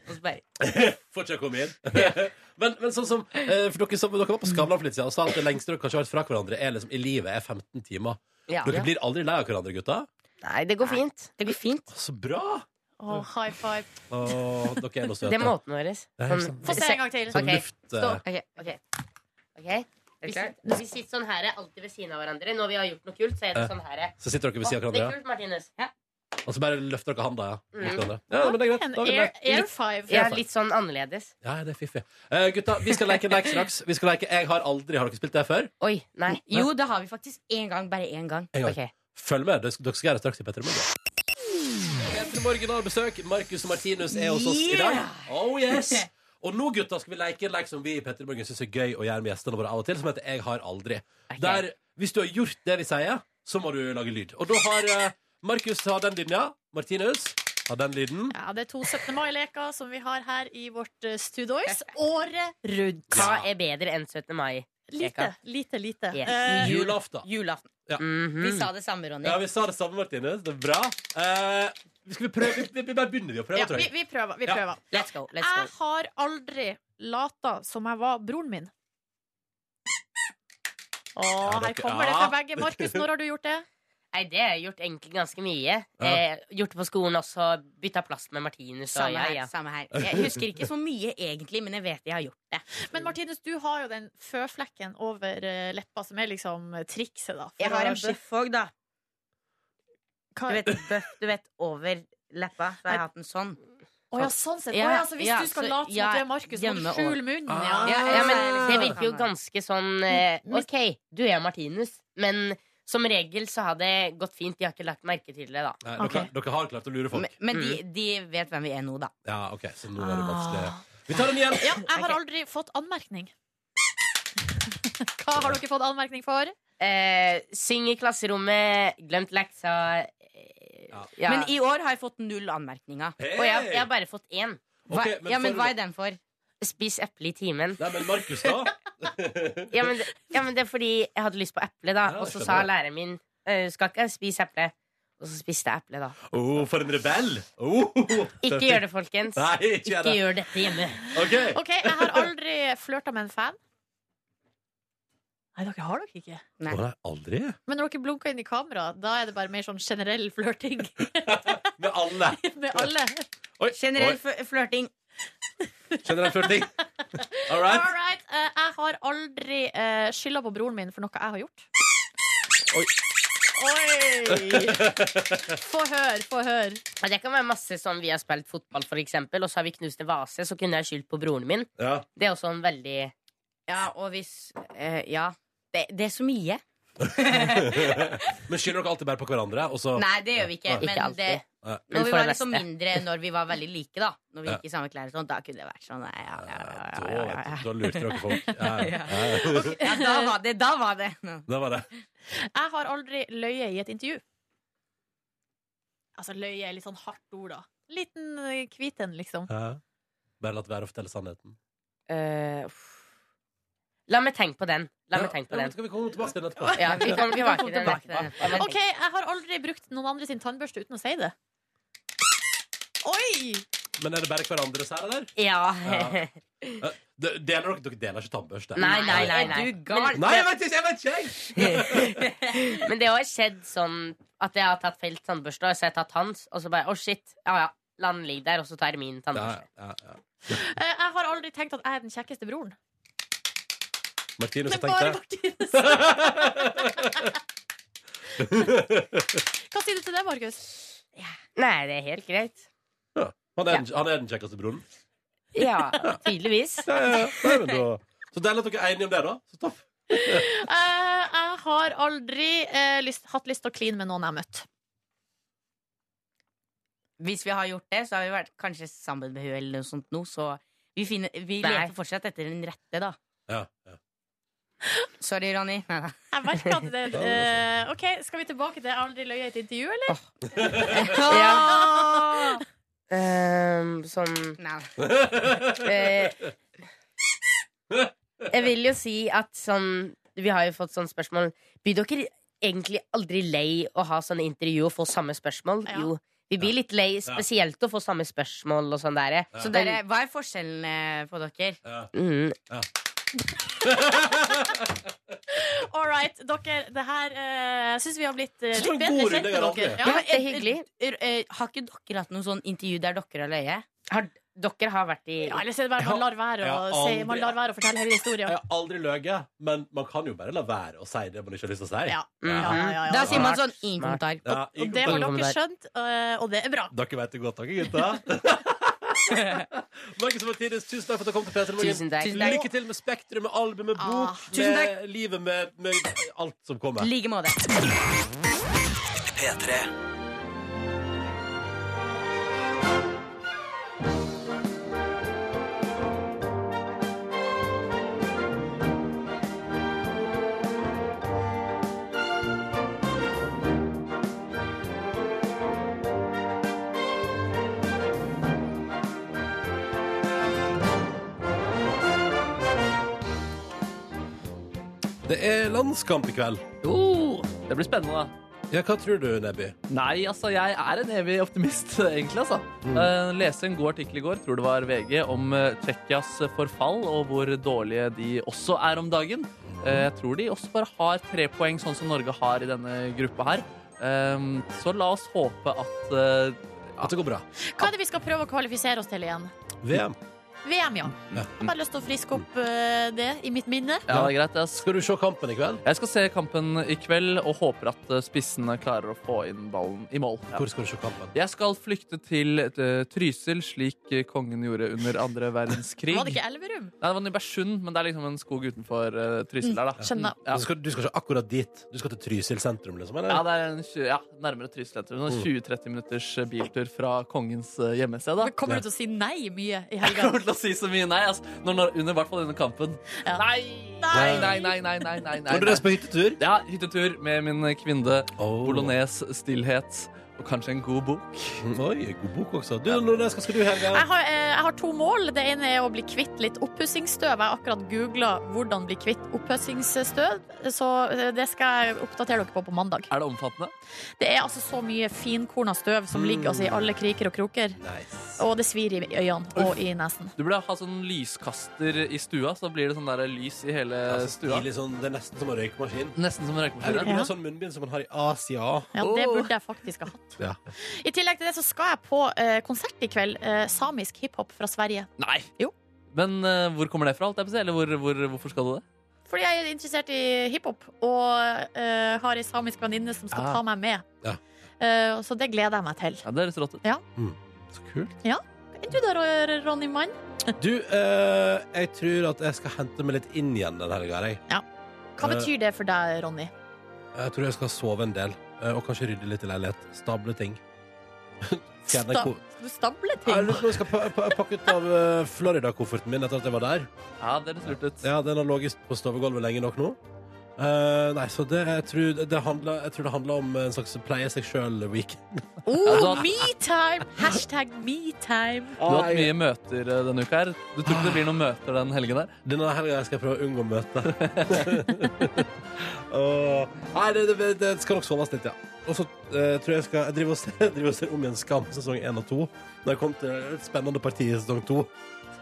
Og så bare
Får ikke jeg komme inn. men, men sånn som eh, For dere, som, dere var på Skavlan for litt siden og sa at det lengste dere kanskje har vært fra hverandre, er liksom i livet er 15 timer.
Ja.
dere
Ja.
blir aldri lei av hverandre, gutta?
Nei, det går fint. Det går fint.
Så bra!
Å, high five.
Åh, dere er noe søte.
Det er måten vår.
Det er helt sant.
Få se en gang til.
Sånn
Ok,
luft, eh.
stå. Ok, ok. Ok. Vi sitter, vi sitter sånn her alltid ved siden av hverandre. Når vi har gjort noe kult, så er det
Eh,
sånn her.
så sitter dere ved siden av
Å, Det
hverandre,
er kult, Martinus.
Og så bare løfter dere handa, ja.
Mm.
mot hverandre. Ja, men det er greit. Da er vi der.
air
five.
Ja, litt sånn annerledes.
Ja, det er fiffig. Eh, gutta, vi skal leke lek straks. Vi skal leke Jeg har aldri Har dere spilt det før?
Oi, nei.
Jo, det har vi faktisk én gang. Bare én gang.
En gang. Følg med. Dere skal- Dere skal gjøre det straks i Petter Morgen. Petter Morgen har besøk. Markus og Martinus er hos oss i dag.
Yeah!
Oh yes! Og nå gutta, skal vi leke en lek som vi i Petter Morgen syns er gøy å gjøre med gjestene våre av og til, som heter Jeg har aldri. Der, hvis du har gjort det vi sier, så må du lage lyd. Og da har eh, Markus har den lyden, ja. Martinus har den lyden.
Ja, det er to 17. mai-leker som vi har her i vårt eh, studiois. Året rundt.
Hva er bedre enn 17. mai?
Lite, lite, lite.
Yes. Mhm.
Eh,
Julaften. Ja.
Vi sa det samme, Ronny.
Ja, vi sa det samme, Martinus. Det er bra. Eh, skal vi prøve? Vi, vi, vi bare begynner vi å prøve,
ja,
tror
vi,
jeg.
vi prøver. Vi
Ja.
prøver.
Let's go. Let's
Ah.
Jeg
go.
har aldri lata som jeg var broren min. Å,
Ja,
her
dere-
kommer det fra
ja.
begge. Markus, når har du gjort det?
Nei, det har jeg gjort egentlig ganske mye.
Ja.
Eh, gjort det på skolen også. Bytta plass med Martinus. og
Samme
ja,
her,
ja.
samme her. Jeg husker ikke så mye egentlig, men jeg vet jeg har gjort det.
Men Martinus, du har jo den føflekken over eh, leppa, som er liksom eh, trikset, da. for
Jeg har
å-
en bøff òg, da. Du vet, bøff, du vet over leppa. Så har jeg hatt en sånn.
Å ja, sånn sett. Å ja, så hvis du skal late som at du er Markus, må du skjule munnen.
Ja,
Ja.
ja, men det virker jo ganske sånn eh, OK, du er Martinus, men som regel så har det gått fint. De har ikke lagt merke til det, da. Mm.
Nei, dere, dere har klart å lure folk.
Men, men de, de vet hvem vi er nå, da.
Ja, ok, så nå er det
Ah.
vanskelig. Vi tar den igjen.
Ja, jeg har aldri fått anmerkning. Hva har dere fått anmerkning for?
Eh, syng i klasserommet, glemt leksa eh, ja.
Men i år har jeg fått null anmerkninger.
Og jeg, jeg har bare fått én.
Hva- Ok, men ja, men for- hva er
den
for?
Spis eple i timen.
Nei, men Markus, da?
ja, men, det- ja, men det er fordi jeg hadde lyst på eple, da.
Ja,
og så
skjønner
sa
jeg.
læreren min «Eh, du skal ikke spise eple. Og så spiste jeg eple, da.
Oh, for en rebell! Oh,
Ikke gjør det, folkens.
Nei, ikke gjør det.
gjør dette hjemme.
Ok.
OK, jeg har aldri flørta med en fan. Nei, dere har dere ikke.
Å, nei, aldri?
Men når dere blunker inn i kamera, da er det bare mer sånn generell flørting
Med alle.
med alle.
Oi,
Generell
oi.
fl- flørting.
Generell flørting. All right.
All right. eh, Jeg har aldri eh, skylda på broren min for noe jeg har gjort.
Få hør, få hør.
Det kan være masse sånn vi har spilt fotball, for eksempel, og så har vi knust en vase, så kunne jeg skyldt på broren min.
Ja.
Det er også en veldig
Ja, og hvis eh, Ja. Det, det er så mye.
Men skylder dere alltid bare på hverandre? Og så...
Nei, det gjør vi ikke.
Nei.
Men det,
Nei.
når vi var liksom mindre Når vi var veldig like, da. Når vi
Ja.
gikk i samme klær og sånn, da kunne det vært sånn. Nei, ja, ja, ja,
Da,
ja,
vet
ja,
du,
ja.
da lurte dere folk. Ja, ja.
Ok, ja, da var det. Da var det.
Det var det.
Jeg har aldri løyet i et intervju. Altså, løye er litt sånn hardt ord, da. Liten eh, hvit en, liksom.
Ja. Bare latt være å fortelle sannheten.
eh, uff. La meg tenke på den. La meg
Ja,
tenke på
ja, men
den.
Skal vi komme tilbake til den etterpå?
Ja, vi kommer tilbake til den.
Tilbake
til den.
OK, jeg har aldri brukt noen andre sin tannbørste uten å si det. Oi!
Men er det bare hverandre sær, eller?
Ja.
Ja. Eh, de- Deler dere, dere deler ikke tannbørste?
Nei, nei, nei, nei.
Er du
gal?
Nei, jeg vet ikke! Jeg vet ikke! jeg.
Men det har skjedd sånn at jeg har tatt feil tannbørste, og så har jeg tatt hans, og så bare Å, shit. Ja ja. La den ligge der, og så tar jeg min tannbørste.
Eh, Jeg har aldri tenkt at jeg er den kjekkeste broren.
Martinus har
Men bare
tenkt
Martinus.
det.
Hva sier du til det, Markus?
Nei, det er helt greit.
Han er, den, han er den kjekkeste broren.
Ja, tydeligvis.
Ja, ja, ja. Nei, men da. Så deilig at dere er enige om det, da. Så topp.
Eh, Jeg har aldri eh, lyst, hatt lyst til å kline med noen jeg har møtt.
Hvis vi har gjort det, så har vi vært kanskje sammen med hun eller noe sånt nå, så vi, finner, vi
Nei.
leter fortsatt etter den rette, da.
Ja,
Sorry, Ronny. Nei, nei.
Jeg merker at det eh, OK, skal vi tilbake til 'jeg har aldri løyet i et intervju', eller?
Ja. Ehm, sånn Eh, Jeg vil jo si at sånn Vi har jo fått sånne spørsmål Blir dere egentlig aldri lei Å ha sånne intervju og få samme spørsmål? Jo, vi blir litt lei Spesielt å få samme spørsmål og sånn der
Så dere, hva er forskjellen eh, på dere?
mm.
All right, dere. Det her uh, syns vi har blitt eh,
Synes det var en
litt bedre
god
kjent
runde,
med
Harald.
dere.
Ja, men
det er
et-
hyggelig.
et- eh, Har ikke dere hatt noen sånn intervju der dere har løyet?
Dere har vært i
Ja, eller så er det bare man lar være å,
Ja,
si, man
aldri.
lar være å fortelle hele historien.
Jeg har aldri løyet, men man kan jo bare la være å si det man ikke har lyst til å si.
Ja. Mm, Ja, ja, ja, ja.
Da sier man sånn,
Smart,
ingen kommentar.
smart. Ja,
Og det har dere
kommentar.
skjønt, eh, og det er bra.
Dere vet det godt, dere gutter. Markus og Martinus, tusen takk for at dere kom til Peter
Tusen takk. Tusen takk.
Lykke til med Spektrum, med albumet, med bok,
Ah. Tusen
med livet, med, med alt som kommer.
like måte.
P3. Det er landskamp i kveld. Oh.
Det blir spennende,
da. Ja, hva tror du, Nebby?
Nei, altså, jeg er en evig optimist, egentlig, altså.
Mm.
Eh, leste en god artikkel i går, tror det var VG, om eh, Tsjekkias forfall og hvor dårlige de også er om dagen. Eh, jeg tror de også bare har tre poeng, sånn som Norge har i denne gruppa her. Eh, så la oss håpe at eh,
At det går bra.
Hva er det vi skal prøve å kvalifisere oss til igjen?
VM.
VM, ja. Jeg har bare lyst til å friske opp eh, det i mitt minne.
Ja, det er greit.
Skal du se kampen i kveld?
Jeg skal se kampen i kveld og håper at eh, spissene klarer å få inn ballen i mål. Ja.
Hvor skal du se kampen?
Jeg skal flykte til eh, Trysil, slik eh, kongen gjorde under andre verdenskrig.
Var det ikke Elverum?
Nei, det var Nybergsund, men det er liksom en skog utenfor eh, Trysil der, da.
Mm, skjønner.
Ja.
Du, skal, du skal ikke akkurat dit. Du skal til Trysil sentrum, liksom? Eller?
Ja, det er en 20, ja, nærmere Trysil. jeg tror. Noen
Mm.
20-30 minutters eh, biltur fra kongens eh, hjemmested. Da.
Kommer du til å si nei mye i
Jeg
helga?
kommer til å si så mye nei, altså. Når, når, under, i hvert fall under kampen. Nei! Nei, nei, nei, nei, nei, nei, nei.
Var du reist på hyttetur?
Ja, hyttetur med min kvinne. Bolognese, stillhet og kanskje en god bok.
Oi, god bok også. Du, Nordnes, hva skal du i helga?
Jeg har, eh, jeg har to mål. Det ene er å bli kvitt litt oppussingsstøv. Jeg har akkurat googla 'hvordan bli kvitt oppussingsstøv', så eh, det skal jeg oppdatere dere på på mandag.
Er det omfattende?
Det er altså så mye finkorna støv som ligger altså, i alle kriker og kroker. Og det svir i øynene og i nesen.
Du burde ha sånn lyskaster i stua, så blir det sånn der lys i hele
Ja, så
stua.
stilig sånn, det er nesten som en røykemaskin.
Nesten som en røykemaskin.
Eller du burde
Ja.
ha sånn munnbind som man har i Asia.
Ja, det burde jeg faktisk ha hatt.
Ja.
I tillegg til det så skal jeg på eh, konsert i kveld. Eh, samisk hiphop fra Sverige.
Nei! Men eh, hvor kommer det fra? Alt jeg på å si? Eller hvor, hvor, hvorfor skal du det?
Fordi jeg er interessert i hiphop og eh, har ei samisk venninne som skal
Ah.
ta meg med.
Ja.
Eh, så det gleder jeg meg til.
Ja, det høres rått ut.
Ja.
Så kult.
ja. Er du der, Ron- Ronny Mann?
Du, eh, jeg tror at jeg skal hente meg litt inn igjen den helga. Jeg.
Hva
Eh,
betyr det for deg, Ronny?
jeg tror jeg skal sove en del, eh, og kanskje rydde litt i leilighet. Stable ting. Fjerne
Sta-
ko-
Skal du stable
Ja, Jeg
ting?
lurer på om jeg skal pa- pa- pakke ut av eh, Florida-kofferten min etter at jeg var der.
Ja, det er lurt ut.
Ja, Den har ligget på stovegulvet lenge nok nå. Eh, nei, så det, jeg, tror, det handler, jeg tror det handler om en slags pleie seg sjøl-weekend.
Oh, metime! Hashtag metime.
Du har hatt mye møter eh, denne uka her. Du tror ikke det blir noen møter den helgen der?
Denne helga skal jeg prøve å unngå møte. Åh, nei, det, det, det skal nok soves litt, ja. Og så eh, tror jeg jeg skal jeg driver og ser, jeg driver og ser om igjen Skam sesong én og to. Når jeg kom til et spennende parti i sesong to.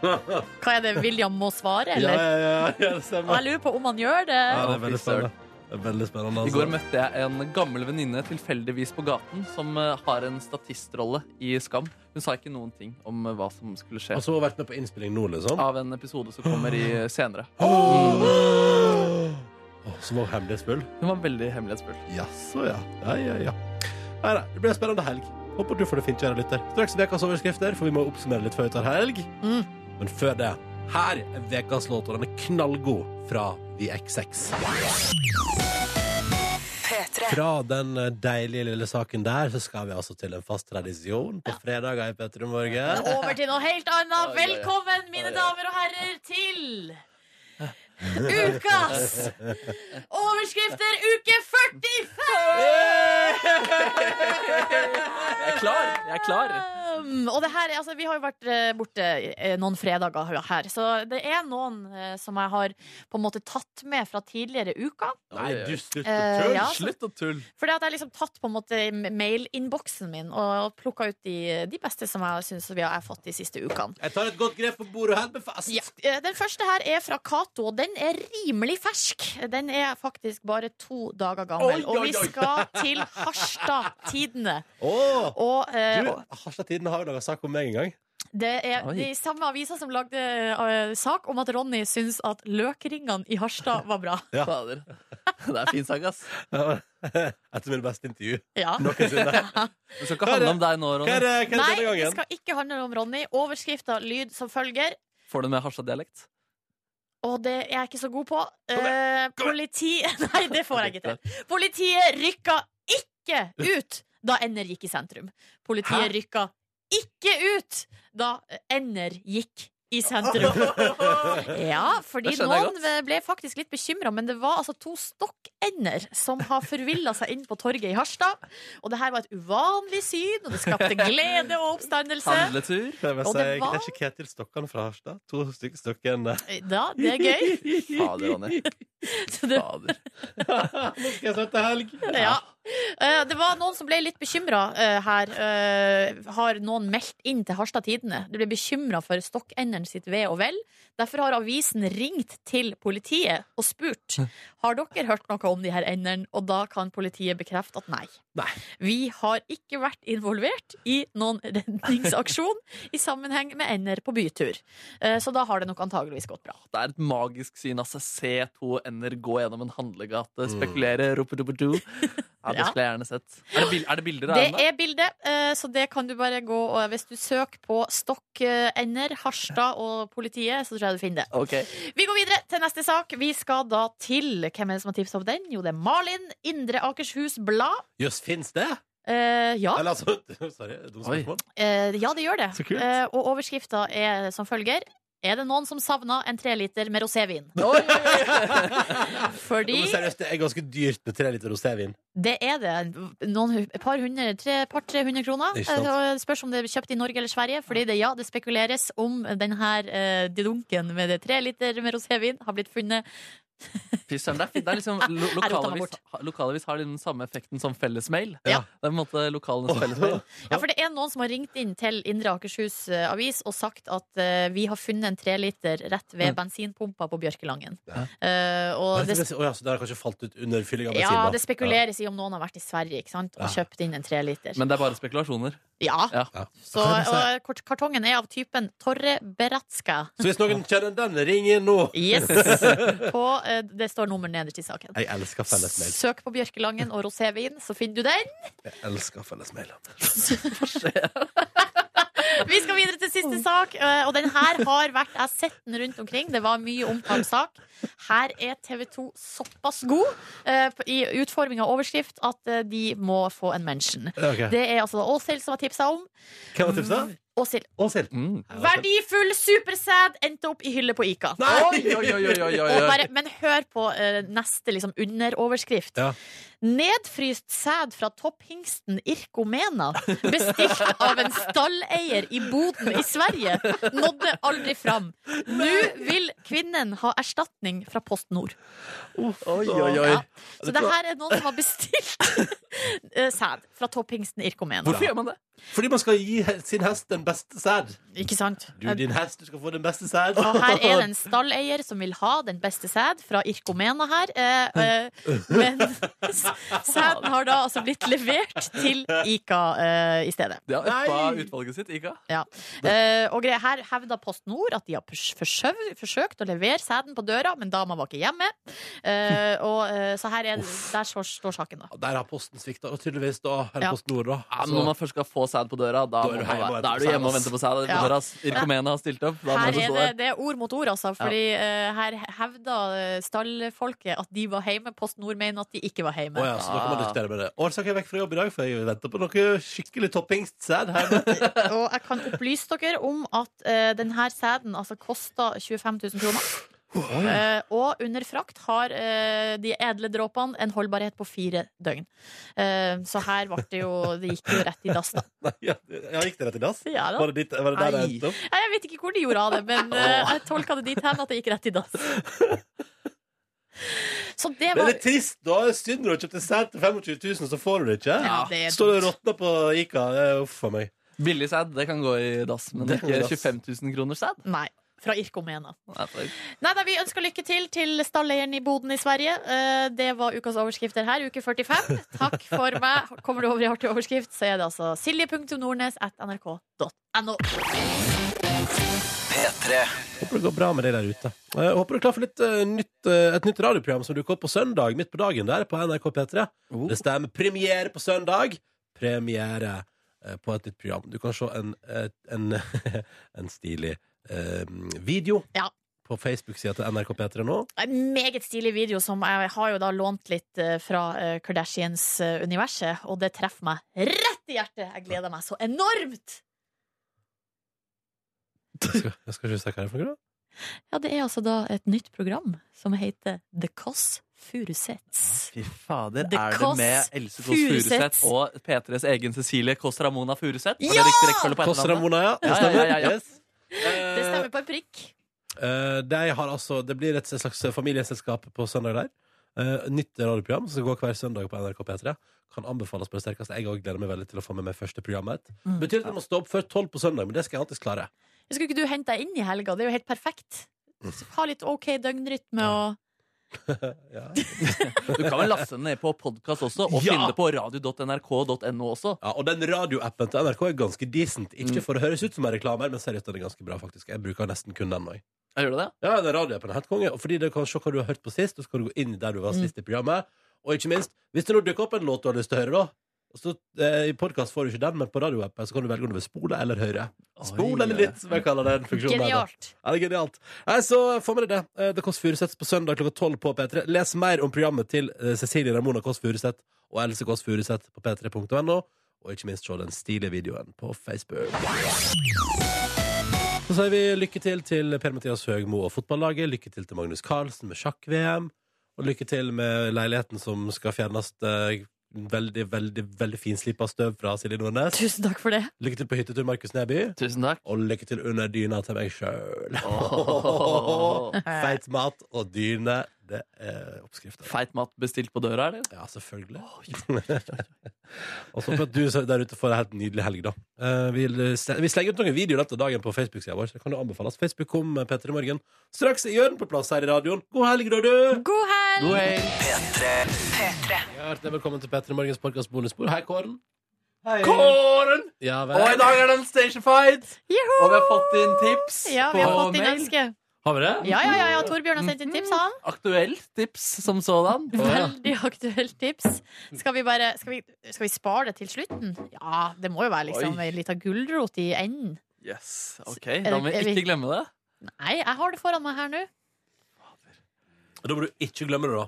Hva er det William må svare,
Ja,
eller?
ja, ja, ja, det
Og jeg
stemmer.
lurer på om han gjør det.
Ja, det er veldig spennende. Det er veldig spennende altså.
I går møtte jeg en gammel venninne tilfeldigvis på gaten som eh, har en statistrolle i Skam. Hun sa ikke noen ting om eh, hva som skulle skje.
Og så har hun vært med på innspilling nå, liksom.
Av en episode som kommer i senere.
Åh, Som var hemmelighetsfull.
Hun var veldig hemmelighetsfull.
Jaså, ja. Ja, ja, ja. Nei, nei, det blir en spennende helg. Håper du får det fint, kjære lytter. Straks ukas overskrifter, for vi må oppsummere litt før vi tar helg.
Mm.
Men før det, her er ukas låt, og den er knallgod fra The XX. Fra den deilige lille saken der, så skal vi altså til en fast tradisjon på fredager i Petter i morgen.
Over til noe helt annet.
Oi, oi, oi.
Velkommen, mine
Oi, oi.
damer og herrer, til Ukas overskrifter uke 45!
Jeg er klar! Jeg er klar.
Um, og det her, er- altså, vi har jo vært eh, borte eh, noen fredager her, så det er noen eh, som jeg har på en måte tatt med fra tidligere uker.
Nei, du, slutt å
Eh,
tulle!
ja, så-
Slutt å tulle!
Fordi at jeg har liksom tatt på en måte mailinnboksen min og plukka ut de, de beste som jeg syns vi har fått de siste ukene.
Jeg tar et godt grep på bordet og holder meg fast.
Ja. Eh, Den første her er fra Cato, og den er rimelig fersk. Den er faktisk bare to dager gammel.
Oi,
Og
oi,
vi
oi.
skal til Harstad Tidende.
Åh,
Og eh,
du, Harstad-tiden har jo laga sak om meg en gang.
det er
Oi.
de samme avisa som lagde eh, sak om at Ronny syns at løkringene i Harstad var bra.
Ja.
Fader. Det er fin sang, ass.
Etter mitt beste intervju
Ja.
noensinne.
Det skal ikke handle om deg nå,
Hva er
Ronny.
det- hva er det
Nei,
denne gangen?
det skal ikke handle om Ronny. Overskrifta lyd som følger.
Får du med Harstad-dialekt?
Og det er jeg ikke så god på. Eh, politi... Nei, det får jeg ikke til. Politiet rykka ikke ut da Ender gikk i sentrum. Politiet
Hæ?
rykka ikke ut da Ender gikk i sentrum. Ja, fordi
Det skjønner jeg
noen ble faktisk litt bekymra, men det var altså to stokkender som har forvilla seg inn på torget i Harstad. Og det her var et uvanlig syn, og det skapte glede og oppstandelse.
Handletur.
Det vil
Og
si,
det
det
var-
er ikke Ketil Stokkan fra Harstad. To stykker Stokkan.
Ja, det er gøy.
Fader, Ronny. Fader.
Nå skal jeg sette helg.
Ja. Eh, Det var noen som ble litt bekymra her. eh, Har noen meldt inn til Harstad Tidende? De ble bekymra for stokkenderen sitt ve og vel. Derfor har avisen ringt til politiet og spurt Har dere hørt noe om de her endene. Og da kan politiet bekrefte at nei. Vi har ikke vært involvert i noen redningsaksjon i sammenheng med ender på bytur. Eh, Så da har det nok antageligvis gått bra.
Det er et magisk syn. Altså, se to ender gå gjennom en handlegate,
Mm.
spekulere, rope, rope, do. Ja, det
Ja.
skulle jeg gjerne sett. Er det, bil er det bilder av
Det
enda?
er bildet, eh, så det kan du bare gå og Hvis du søker på Stokkender, Harstad og politiet, så tror jeg du finner det.
Ok.
Vi går videre til neste sak. Vi skal da til Hvem er det som har tipsa om den? Jo, det er Malin. Indre Akershus Blad.
Jøss, fins det?
Eh, ja.
Eller altså Sorry, dumt spørsmål.
Eh, ja, det gjør det.
Så kult.
Eh, og overskrifta er som følger. Er det noen som savna en treliter med rosévin?
Jo,
Fordi
men seriøst, det er ganske dyrt med tre liter rosévin.
Det er det. Noen, hu- et par hundre, tre, par 300 kroner.
Ikke sant.
Eh, og det Spørs om det er kjøpt i Norge eller Sverige. Fordi det, ja, det spekuleres om den her eh, didunken med det tre liter med rosévin har blitt funnet.
Fy søren, det er fint. Det er liksom lo
Jeg rotet meg
lokalavis,
bort.
ha- lokalavis har den samme effekten som fellesmail.
Ja.
Det er på en måte lokalenes fellesmail.
Ja, for det er noen som har ringt inn til Indre Akershus eh, avis og sagt at eh, vi har funnet en treliter rett ved bensinpumpa på Bjørkelangen. Eh, og
Det,
det,
det, ja, så det har kanskje falt ut under fylling av bensin?
ja,
da.
det spekuleres i om noen har vært i Sverige ikke sant? og
Ja.
kjøpt inn en treliter.
Men det er bare spekulasjoner.
Ja.
Ja.
Så, og kort- kartongen er av typen Torre Beratska.
Så hvis noen kjenner den, ring inn nå!
Yes. På, eh, det står nummer nederst i saken.
Jeg elsker fellesmail.
Søk på Bjørkelangen og rosévin, så finner du den.
Jeg elsker fellesmail.
Vi skal videre til siste sak, eh, og den her har vært Jeg har sett den rundt omkring. Det var mye omtalt sak. Her er TV 2 såpass god eh, i utforming av overskrift at eh, de må få en mention.
Ok.
Det er altså Åshild som har tipsa om.
Hvem var tipset?
Åshild.
Åshild.
Verdifull supersæd endte opp i hylle på Ica.
Nei! Oi, oi, oi, oi, oi, oi.
Og bare, men hør på eh, neste liksom, underoverskrift.
Ja.
Nedfryst sæd fra topphingsten Irkomena, bestilt av en stalleier i Boden i Sverige, nådde aldri fram. Nå vil kvinnen ha erstatning fra Post Nord.
Oi, oi, oi.
Ja. Så det her er noen som har bestilt eh, sæd fra topphingsten Irkomena.
Hvorfor gjør man det? Fordi man skal gi he- sin hest den beste sæd.
Ikke sant?
Du, din hest, du skal få den beste sæd.
Og her er det en stalleier som vil ha den beste sæd fra Irkomena her. Eh, eh, men s- sæden har da altså blitt levert til Ica eh, i stedet.
De har uppa utvalget sitt, ikke?
Ja. Eh, og greia her hevda Post Nord at de har pers- forsøv- forsøkt å levere sæden på døra, men dama var ikke hjemme. Eh, og, eh, så her er, der står, står saken, da.
Der har posten svikta, og tydeligvis da. Eller
Ja.
PostNord, da.
Ja, men når man først skal få sæd på døra, da,
Altså-
må
er du
man
hjemme
være-
og venter
da
på
er du
sæd,
hjemme og
ass.
venter på sæd.
Ja.
på døra, ass. Irkomena har stilt opp. Da må
Her
man
altså,
er
stå
det,
der.
det er ord mot ord, altså. Fordi eh, her hevda eh, stallfolket at de var hjemme. Post Nord mener at de ikke var hjemme.
Å ja, så da kan man diskutere med det. Årsak er vekk fra jobb i dag, for jeg venter på noe skikkelig toppingstsæd her.
Og jeg kan opplyse dere om at eh, denne sæden altså, kosta 25 000 kroner. Eh, og under frakt har eh, de edle dråpene en holdbarhet på fire døgn. Eh, så her ble det jo Det gikk jo rett i dass, da.
Nei, ja, ja, gikk det rett i dass?
Ja da.
var, det ditt, var det der det
Nei.
endte opp?
Nei, Jeg vet ikke hvor de gjorde av det, men eh, jeg tolka det dit hen at det gikk rett i dass. Så det
Det er
var
litt trist, da. Synd når du har kjøpt en sæd til 25 000, så får du det ikke.
Ja, det er
Står og råtner på Ica. Det er Uff a meg.
Billig sæd, det kan gå i dass, men
Det kan gå i
ikke
dass.
25 000 kroner sæd.
Nei. Fra Irkomena.
Nei, for-
Nei, da, Vi ønsker lykke til til stalleieren i Boden i Sverige. Eh, Det var ukas overskrifter her, uke 45. Takk for meg. Kommer du over i artig overskrift, så er det altså silje.nordnes.nrk.no.
P3. Håper det går bra med deg der ute. Eh, Jeg håper du er klar for litt, eh, nytt, eh, et nytt radioprogram som dukker opp på søndag, midt på dagen der, på NRK P3. Det stemmer. Premiere på søndag. Premiere eh, på et nytt program. Du kan se en, eh, en, en stilig eh, video
Ja.
på Facebook-sida til NRK P3 nå.
En meget stilig video som jeg har jo da lånt litt eh, fra eh, Kardashians-universet, og det treffer meg rett i hjertet. Jeg gleder meg så enormt!
Jeg skal ikke si hva det er for noe.
Ja, det er altså da et nytt program som heter The Kåss Furuseths.
Fy fader,
The
er det
Kåss
med Else Kåss
Furuseth.
Furuseth og P3s egen Cecilie Kåss Ramona Furuseth? Var det
Ja!
riktig rekkefølge på
Kåss
etternavnet?
Ramona, ja. Det
Ja, ja,
stemmer.
ja, ja.
Yes.
Det stemmer på en prikk.
Eh, de har altså, det blir et slags familieselskap på søndag der. Eh, nytt radioprogram som skal gå hver søndag på NRK P3. Kan anbefales på det sterkeste. Jeg også gleder meg veldig til å få med meg første programmet.
Mm.
Betyr at jeg må stå opp før tolv på søndag, men det skal jeg alltid klare.
Skulle ikke du hente deg inn i helga? Det er jo helt perfekt.
Mm.
Ha litt OK døgnrytme og
Du kan vel laste den ned på podkast også, og
Ja!
finne det på radio.nrk.no også.
Ja, og den radioappen til NRK er ganske decent. Ikke for å høres ut som en reklame, men seriøst, den er ganske bra, faktisk. Jeg bruker nesten kun den òg.
Gjør du det?
Ja, den radioappen er helt konge. Og fordi du kan se hva du har hørt på sist, og så kan du gå inn der du var sist i programmet. Og ikke minst, hvis det nå dukker opp en låt du har lyst til å høre, da og så, eh, I podkast får du ikke den, men på radioappen så kan du velge om du vil spole eller høre. Spole eller litt, som jeg kaller den funksjonen. her, da.
Genialt.
Ja, det er genialt. Nei, så få med deg det. Eh, Det Kåss Furuseth på søndag klokka tolv på P3. Les mer om programmet til eh, Cecilie Ramona Kåss Furuseth og Else Kåss Furuseth på p3.no, og ikke minst se den stilige videoen på Facebook. Så sier vi lykke til til Per-Mathias Høgmo og fotballaget, lykke til til Magnus Carlsen med sjakk-VM, og lykke til med leiligheten som skal fjernes eh, veldig, veldig, veldig finslipa støv fra Silje Nordnes.
Tusen takk for det.
Lykke til på hyttetur, Markus Neby.
Tusen takk.
Og lykke til under dyna til meg sjøl.
Åh.
Feit mat og dyne, det er oppskriften.
Feit mat bestilt på døra, eller?
Ja, selvfølgelig. Og så håper jeg at du der ute får en helt nydelig helg, da. Eh, Vi vi slenger ut noen videoer etter dagen på Facebook-sida vår. Så det kan jo anbefales. Facebook kom med Petter i eh, morgen. Straks er Jørn på plass her i radioen. God helg, da, du!
God helg!
God helg. Hjertelig velkommen til Petter i morgens podkast bonusbord. Hei, Kåren.
Kåren!
Ja, vel.
Og i dag er det en station fight.
Juhu!
Og vi har fått inn tips
Ja, vi
på
har fått inn
mail. Mm.
ønske.
Har vi det?
Ja, ja, ja, ja, Torbjørn har sendt inn tips, han.
Aktuelt tips som sådan.
Veldig aktuelt tips. Skal vi bare skal vi, skal vi spare det til slutten? Ja, det må jo være liksom
Oi.
ei lita gulrot i enden.
Yes, ok,
Er
Da
det-
må vi
er vi-
ikke glemme det.
Nei, jeg har det foran meg her nå.
Da må du ikke glemme det, da.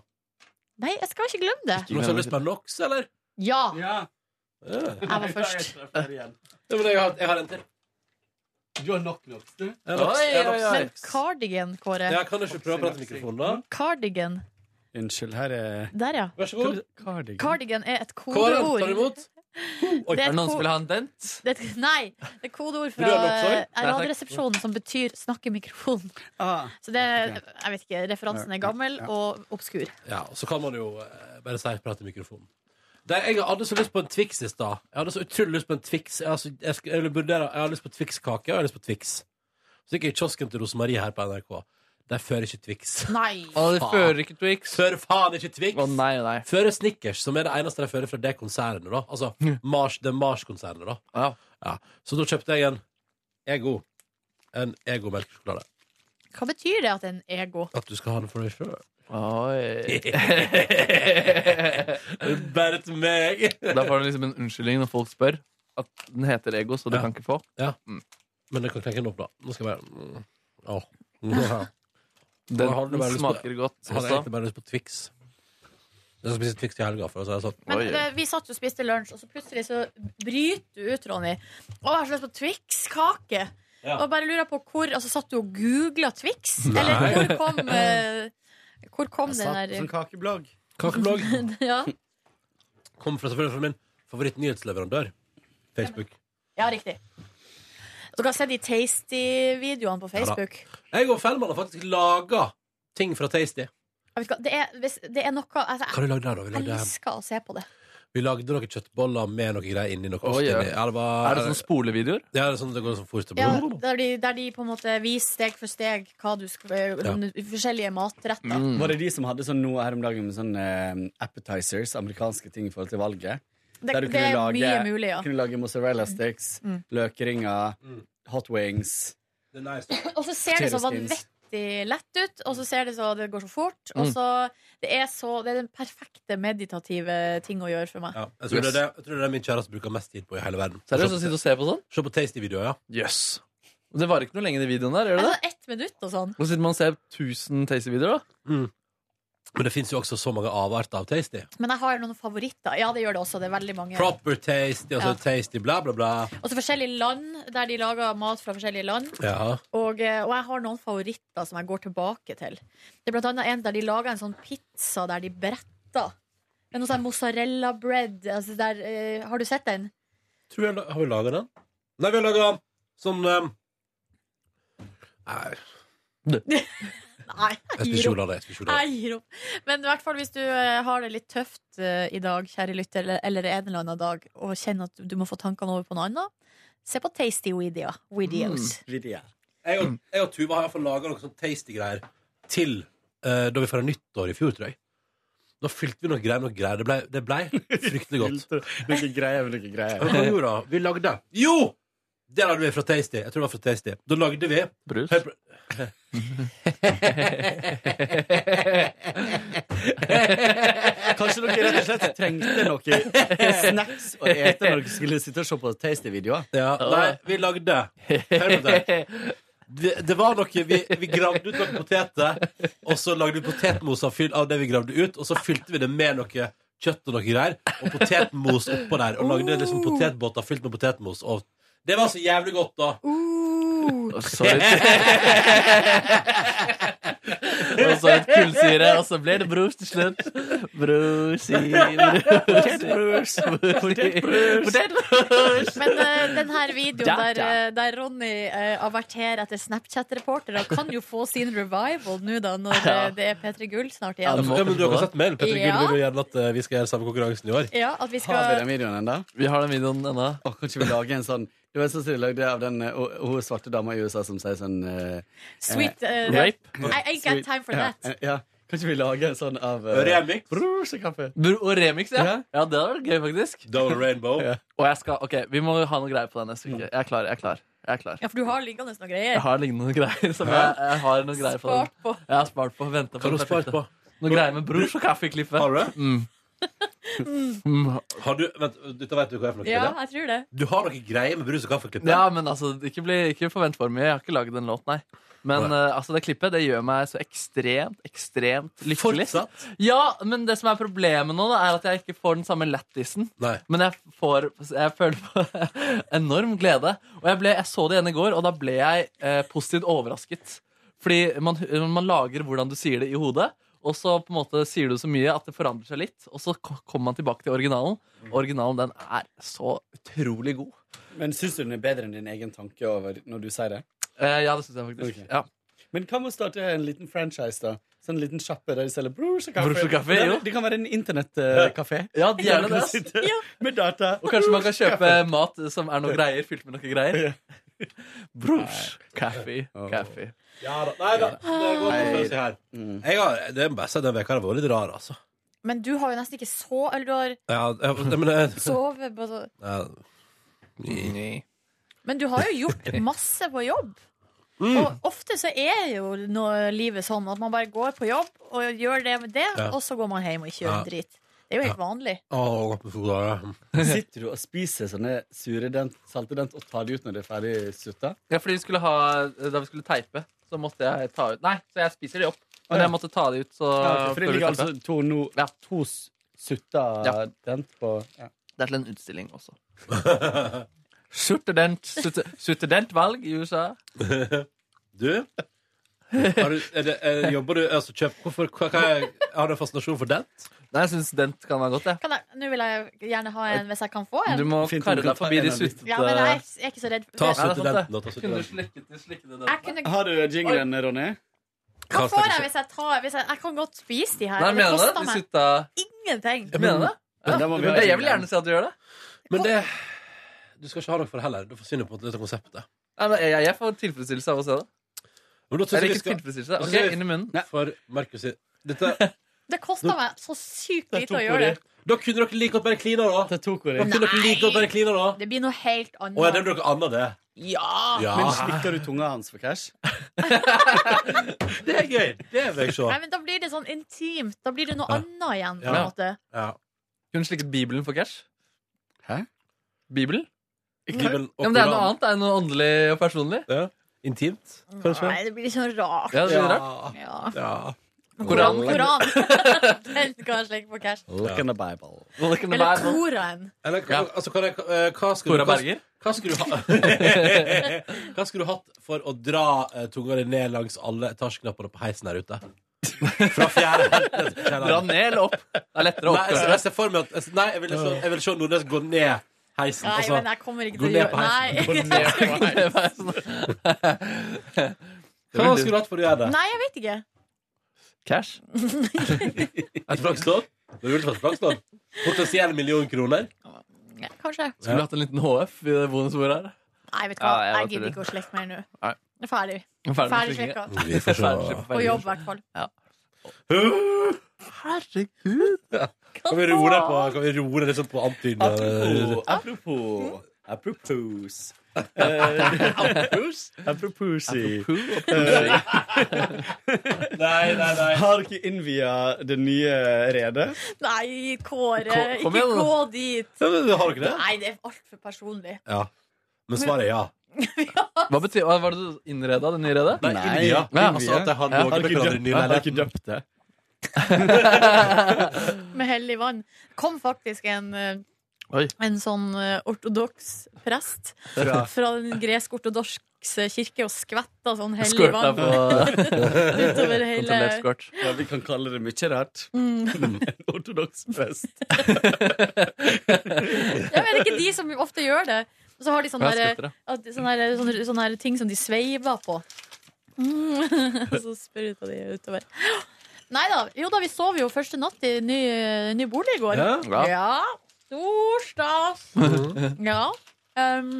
Nei, jeg skal ikke glemme det.
Du må sende spenn nok, eller?
Ja.
Ja.
Jeg var først.
Ja, men jeg har, jeg har en til.
Du har nok nok, du.
Jeg har nok- jeg har nok-
Men cardigan, Kåre.
Ja, kan du ikke prøve å prate i mikrofonen, da?
Cardigan.
Unnskyld, her er
Der, ja.
Vær så god.
Cardigan.
Cardigan er et
Kåre,
kodeord.
tar du imot?
Det er et ko-
en dent?
Det er et, nei. Det er
Vil du
kodeord fra
ha den også?
eh,
Nei, takk. Ah,
Radioresepsjonen som betyr 'snakke i mikrofonen'. Så det Jeg vet ikke. Referansen er gammel og obskur.
Ja, og så kan man jo eh, bare si prate i mikrofonen. Det, jeg hadde så lyst på en Twix i stad. Jeg hadde så utrolig lyst på en Twix. Jeg, altså, jeg, sk- jeg, vurderer- jeg har lyst på Twix-kake, og jeg har lyst på Twix. Så gikk jeg i kiosken til Rosemarie her på NRK. De fører ikke Twix.
Nei.
Og de fører ikke Twix.
Fører faen ikke Twix.
nei, nei.
Fører Snickers, som er det eneste de fører fra det konsernet, da. Altså Mars, det Mars-konsernet, da. Ja. Så da kjøpte jeg en Ego. En Ego-melkesjokolade.
Hva betyr det at en ego
At du skal ha den for deg sjøl.
Bare
til meg.
da får du liksom en unnskyldning når folk spør. At den heter Ego, så du kan ikke få.
Ja. Men jeg kan knekke den opp, da. Nå skal jeg bare mm. Åh.
Den-
Jeg hadde
den
bare lyst
smaker
på-
godt
Jeg hadde
også.
egentlig bare lyst på Twix. Jeg skal spise Twix i helga, for å si det sånn.
Men eh, vi satt jo og spiste lunsj, og så plutselig så bryter du ut, Ronny. Å, jeg har så lyst på Twix-kake!
Ja.
Og bare lurer på hvor Altså, satt du og googla Twix?
Nei.
Eller hvor kom eh, Hvor kom den der
Som kakeblogg.
Kakeblogg
ja.
kom fra, selvfølgelig fra min favorittnyhetsleverandør, Facebook.
ja, riktig. Dere har sett de Tasty-videoene på Facebook?
Jeg og Fellmann har faktisk laga ting fra Tasty.
Jeg vet ikke, det, er, hvis, det er noe altså,
Hva har du lagd der, da? Vi
Jeg
lagde,
elsker å se på det.
vi lagde noen kjøttboller med noe greier inni. Noe
Å,
ost
ja.
inni. Ja, det var,
Er det sånn spolevideoer?
Ja, det er sånn det går sånn fort.
Ja, der, de, der de på en måte viser steg for steg hva du skal, forskjellige matretter.
Var det de som hadde sånn noe her om dagen med sånn eh, appetizers, amerikanske ting i forhold til valget?
Det- det er mye mulig, ja.
kunne lage mozzarella sticks,
Mm.
løkringer, hot wings.
Det er nice.
Og så ser det så
Potato skins.
vanvittig lett ut, og så ser det så det går så fort. Og
Mm.
så det er så Det er den perfekte meditative ting å gjøre for meg.
Ja, jeg, tror det er det, jeg tror det er det min kjæreste bruker mest tid på i hele verden.
Seriøst, å sitte og se på sånn?
Se på Tasty-videoer, ja.
Yes. Det varer ikke noe lenge, de videoene der. Gjør det
Altså,
det?
ett minutt og sånn.
Nå sitter man og ser 1000 Tasty-videoer, da.
Men det fins jo også så mange avarter av Tasty.
Men jeg har noen favoritter. Ja, det gjør det også. Det er veldig mange.
Proper Tasty, altså
Ja.
Tasty, bla, bla, bla.
Og så forskjellige land, der de lager mat fra forskjellige land.
Ja.
Og, eh, og jeg har noen favoritter som jeg går tilbake til. Det er blant annet en der de lager en sånn pizza der de bretter. Det er noe sånn mozzarella bread. Altså der, eh, har du sett den?
Tror vi har, la- har vi laga den? Nei, vi har laga sånn um... Nei.
Nei,
Jeg spiser sjokolade. Jeg spiser sjokolade.
Jeg gir opp. Men i hvert fall hvis du eh, har det litt tøft eh, i dag, kjære lytter, eller, eller en eller annen dag, og kjenner at du må få tankene over på noe annet, se på Tasty Video,
Mm.
Videos.
Jeg og, jeg og Tuva har iallfall laga noen sånn tasty greier til eh, da vi feira nyttår i fjor, tror jeg. Da fylte vi noe greier med noe greier. Det ble, det ble fryktelig godt.
noe greier med noe greier.
Hva gjorde da? Vi lagde Jo! Det lagde vi fra Tasty. Jeg tror det var fra Tasty. Da lagde vi
Brus?
Kanskje dere rett og slett trengte noe snacks å ete når dere skulle sitte og se på Tasty-videoer?
Ja, nei, vi lagde Hør på det. Det, det var noe vi, vi gravde ut noen poteter, og så lagde vi potetmos av, fyll- av det vi gravde ut, og så fylte vi det med noe kjøtt og noe greier, og potetmos oppå der, og lagde liksom potetbåter fylt med potetmos. Og det var så jævlig godt, da.
Og så litt Og så litt kullsyre, og så ble det brus til slutt. Brus i Potetbrus. Potetbrus.
Men eh, den her videoen
Ja,
der, eh, der Ronny eh, averterer etter Snapchat-reportere, kan jo få sin revival nå, da, når eh, det er P3 Gull snart
Ja,
igjen.
men du har ikke sett mailen? Petter
Ja.
Gull vil jo gjerne at eh, vi skal gjøre samme konkurransen i år.
Ja, at vi
Har vi
skal
den videoen ennå?
Vi har den videoen ennå.
Å, kan ikke vi lage en sånn Det var en sånn som de lagde av den eh, hun- hun svarte dama i USA som sier sånn eh,
Sweet,
eh,
eh, Rape? I ain't got time for
ja,
that.
eh, Ja. Kan ikke vi lage en sånn av eh,
Remix?
Brors og kaffe?
Br- Og remix, ja.
Ja.
ja. det hadde vært gøy, faktisk.
Double rainbow.
Og jeg skal, ok, Vi må ha noe greier på det neste uke. Jeg er klar. jeg er klar, jeg er klar.
Ja, for du har liggende noen greier.
Jeg har liggende noen greier. som jeg, jeg har noen greier på. den.
Spart på.
Jeg har spart på, ventet på
Hva har du
den
spart
perfekte.
på?
Noen greier med brors og kaffeklippet.
Har du det?
Mm.
Har du, vent, dette vet du hva er for noe?
Ja,
Silje?
jeg tror det.
Du har noe greie med brus og kaffeklippet?
Ja, men altså, ikke, bli, ikke forvent for mye. Jeg har ikke laget en låt, nei. Men eh, altså, det klippet det gjør meg så ekstremt, ekstremt lykkelig.
Fortsatt?
Ja, men det som er problemet nå, da, er at jeg ikke får den samme lættisen. Men jeg får Jeg føler på enorm glede. Og jeg, ble, jeg så det igjen i går, og da ble jeg eh, positivt overrasket. Fordi man, man lager hvordan du sier det i hodet, og så på en måte sier du så mye at det forandrer seg litt. Og så ko- kommer man tilbake til originalen. Originalen den er så utrolig god.
Men syns du den er bedre enn din egen tanke over når du sier det?
Eh, ja, det syns jeg faktisk.
Ok.
Ja.
Men hva med å starte en liten franchise, da? Sånn en liten sjappe der de selger brors og
Brors
kaffe.
og kaffe,
det,
jo.
det kan være en eh, internettkafé.
Ja, de gjerne det, ass.
Med data.
Og kanskje man kan
Brors
kjøpe
kaffe.
mat som er noe greier, fylt med noe greier. Brors. Kaffe. Kaffe.
Ja da. Nei Mm. da. Det går
Nei.
på følelse her. Jeg har, det må jeg si, den veka har vært litt rar, altså.
Men du har jo nesten ikke så Eller du har
Ja, ja, men det-
sovet på så
Ja.
Mm.
Nei.
Men du har jo gjort masse på jobb. Og ofte så er jo nå livet sånn at man bare går på jobb og gjør det med det,
Ja.
og så går man hjem og ikke gjør en
Ja.
drit. Det er jo helt vanlig.
Å, godt med to dager.
Sitter du og spiser sånne sure dent, salte dent og tar de ut når det er ferdig sutta?
Ja, fordi vi skulle ha, da vi skulle teipe, så måtte jeg ta ut Nei, så jeg spiser de opp.
Å,
Men
ja.
jeg måtte ta de ut, så
Ja, ok, for det
før vi
ligger
teipet.
altså to, no, to s- sutta
Ja.
dent på ja.
Det er til en utstilling også. Sutterdent, sutte- Sutterdentvalg i USA.
Du? Har du er det, er, jobber du altså, kjøp, hvorfor, hva, hva er, Har du en fascinasjon for dent?
Nei, jeg syns dent kan være godt, jeg.
Kan jeg, nå vil jeg gjerne ha en hvis jeg kan få en.
Du må
Fint om
karre
du kan
deg
ta
forbi
en
de
av de.
suttete
Ja, men jeg er ikke så redd.
Ta sutt-
Jeg-
sant, det.
Denten, da, ta så-
Kunne du slikke til slikke til
Jeg kunne,
Har du jinglen, Ronny?
hva får jeg hvis jeg tar hvis jeg, jeg kan godt spise de her.
Nei,
men
mener du det?
det koster
De
meg
sutta
ingenting.
Jeg mener det.
Men
Ja,
da må vi
men
ha
jeg vil
jinglen.
gjerne se at du gjør det.
Men det Du skal ikke ha noe for det heller. Du forsvinner på en måte litt av konseptet.
Nei, men jeg, jeg får tilfredsstillelse av å se det.
Men da synes
Eller
jeg vi
ikke
skal-
tilfredsstillelse.
da synes
Ok,
jeg vi-
inn i munnen.
For Markus sier Dette
Det koster meg så sykt
Der
lite
tok
å
hun
gjøre det.
Da kunne dere like godt bare klina, da.
Det tok
Da kunne dere like godt bare klina, da.
Det blir noe helt annet.
Å, ja, det blir noe annet, det.
Ja!
Ja.
Men slikker du tunga hans for cash?
Det er gøy. Det vil jeg
Nei,
se.
men da blir det sånn intimt. Da blir det noe
Ja.
annet igjen, på en
Ja.
måte.
Ja.
Kunne slikket Bibelen for cash.
Hæ?
Bibelen?
Bibelen og
Ja, men det er noe
Koranen.
annet. Det er noe åndelig og personlig.
Ja. Intimt, kanskje?
Nei, det blir sånn rart.
Ja, det blir
Ja.
rart.
Ja.
Ja.
Koran. Koran. Den kan jeg slenge på cash.
Look in the Bible.
Look in the
Eller
Bible.
Koraen.
Eller hva-
Ja.
altså, hva, eh, hva skulle
Tora
hva-
Berger.
Hva skulle du ha Hva skulle du hatt for å dra eh, tunga di ned langs alle etasjeknappene på heisen her ute? Fra fjerde ned til
Dra
fjerde.
ned eller opp. Det er lettere å
Nei, jeg ser- jeg
oppklare.
ser for meg at jeg ser- Nei, jeg vil se, jeg vil se Nordnes gå ned heisen.
Nei, men
Altså,
jeg kommer ikke
gå
til å
ned på
gjøre Nei.
heisen. Hva
Hva
skulle du hatt for å gjøre det?
Nei, jeg vet ikke.
Cash?
Et flakslån? Det er jo et flakslån. Potensiell million kroner?
Ja, kanskje.
Skulle du hatt en liten HF i det bonusbordet her?
Nei, vet du hva.
Ja, jeg
Jeg
bare
gidder
tuller.
ikke å slekte mer nå.
Nei.
Jeg er Ferdig.
Ferdig
Ferdig
med
slekka.
slikkingen.
Vi får se.
Ferdig slipp-
På
ferdig
jobb, i
slipp.
hvert fall.
Herregud.
Kan vi roe deg på, kan vi roe deg liksom på antydning?
Apropos Apropos Apropos. Eh, Apropos? Aproposi.
Nei, nei, nei.
Har dere innvia det nye redet?
Nei, Kåre.
Kom- kom
Ikke
igjen, da.
gå dit.
Ja, men Har dere det?
Nei, det er altfor personlig.
Ja. Men svaret er ja.
Hva betyr, hva var det du innreda, det nye redet?
Nei, India.
Nei,
altså at jeg har
Ja.
ligget
Har
med
dere
hverandre i
døpt,
nye
har dere
leiligheter.
døpt det?
Mm.
Med hellig vann. Kom faktisk en eh,
Oi.
en sånn eh, ortodoks prest
Fra-
fra den gresk-ortodokse kirke og skvetta sånn hellig
Squirta
vann
på
utover hele
kontrollert squirt.
Ja, vi kan kalle det mye rart.
mm.
En ortodoks fest.
Ja, men er det ikke de som ofte gjør det? Og så har de sånn sånne,
Ja,
der,
skvetta, ja.
at, sånne, der, sånne, sånne der ting som de sveiver på. Mm. Og så spruta de utover. Nei da. Jo da, vi sov jo første natt i ny, ny bolig i går.
Ja. Mm.
Ja. Stor stas. Ja. Um,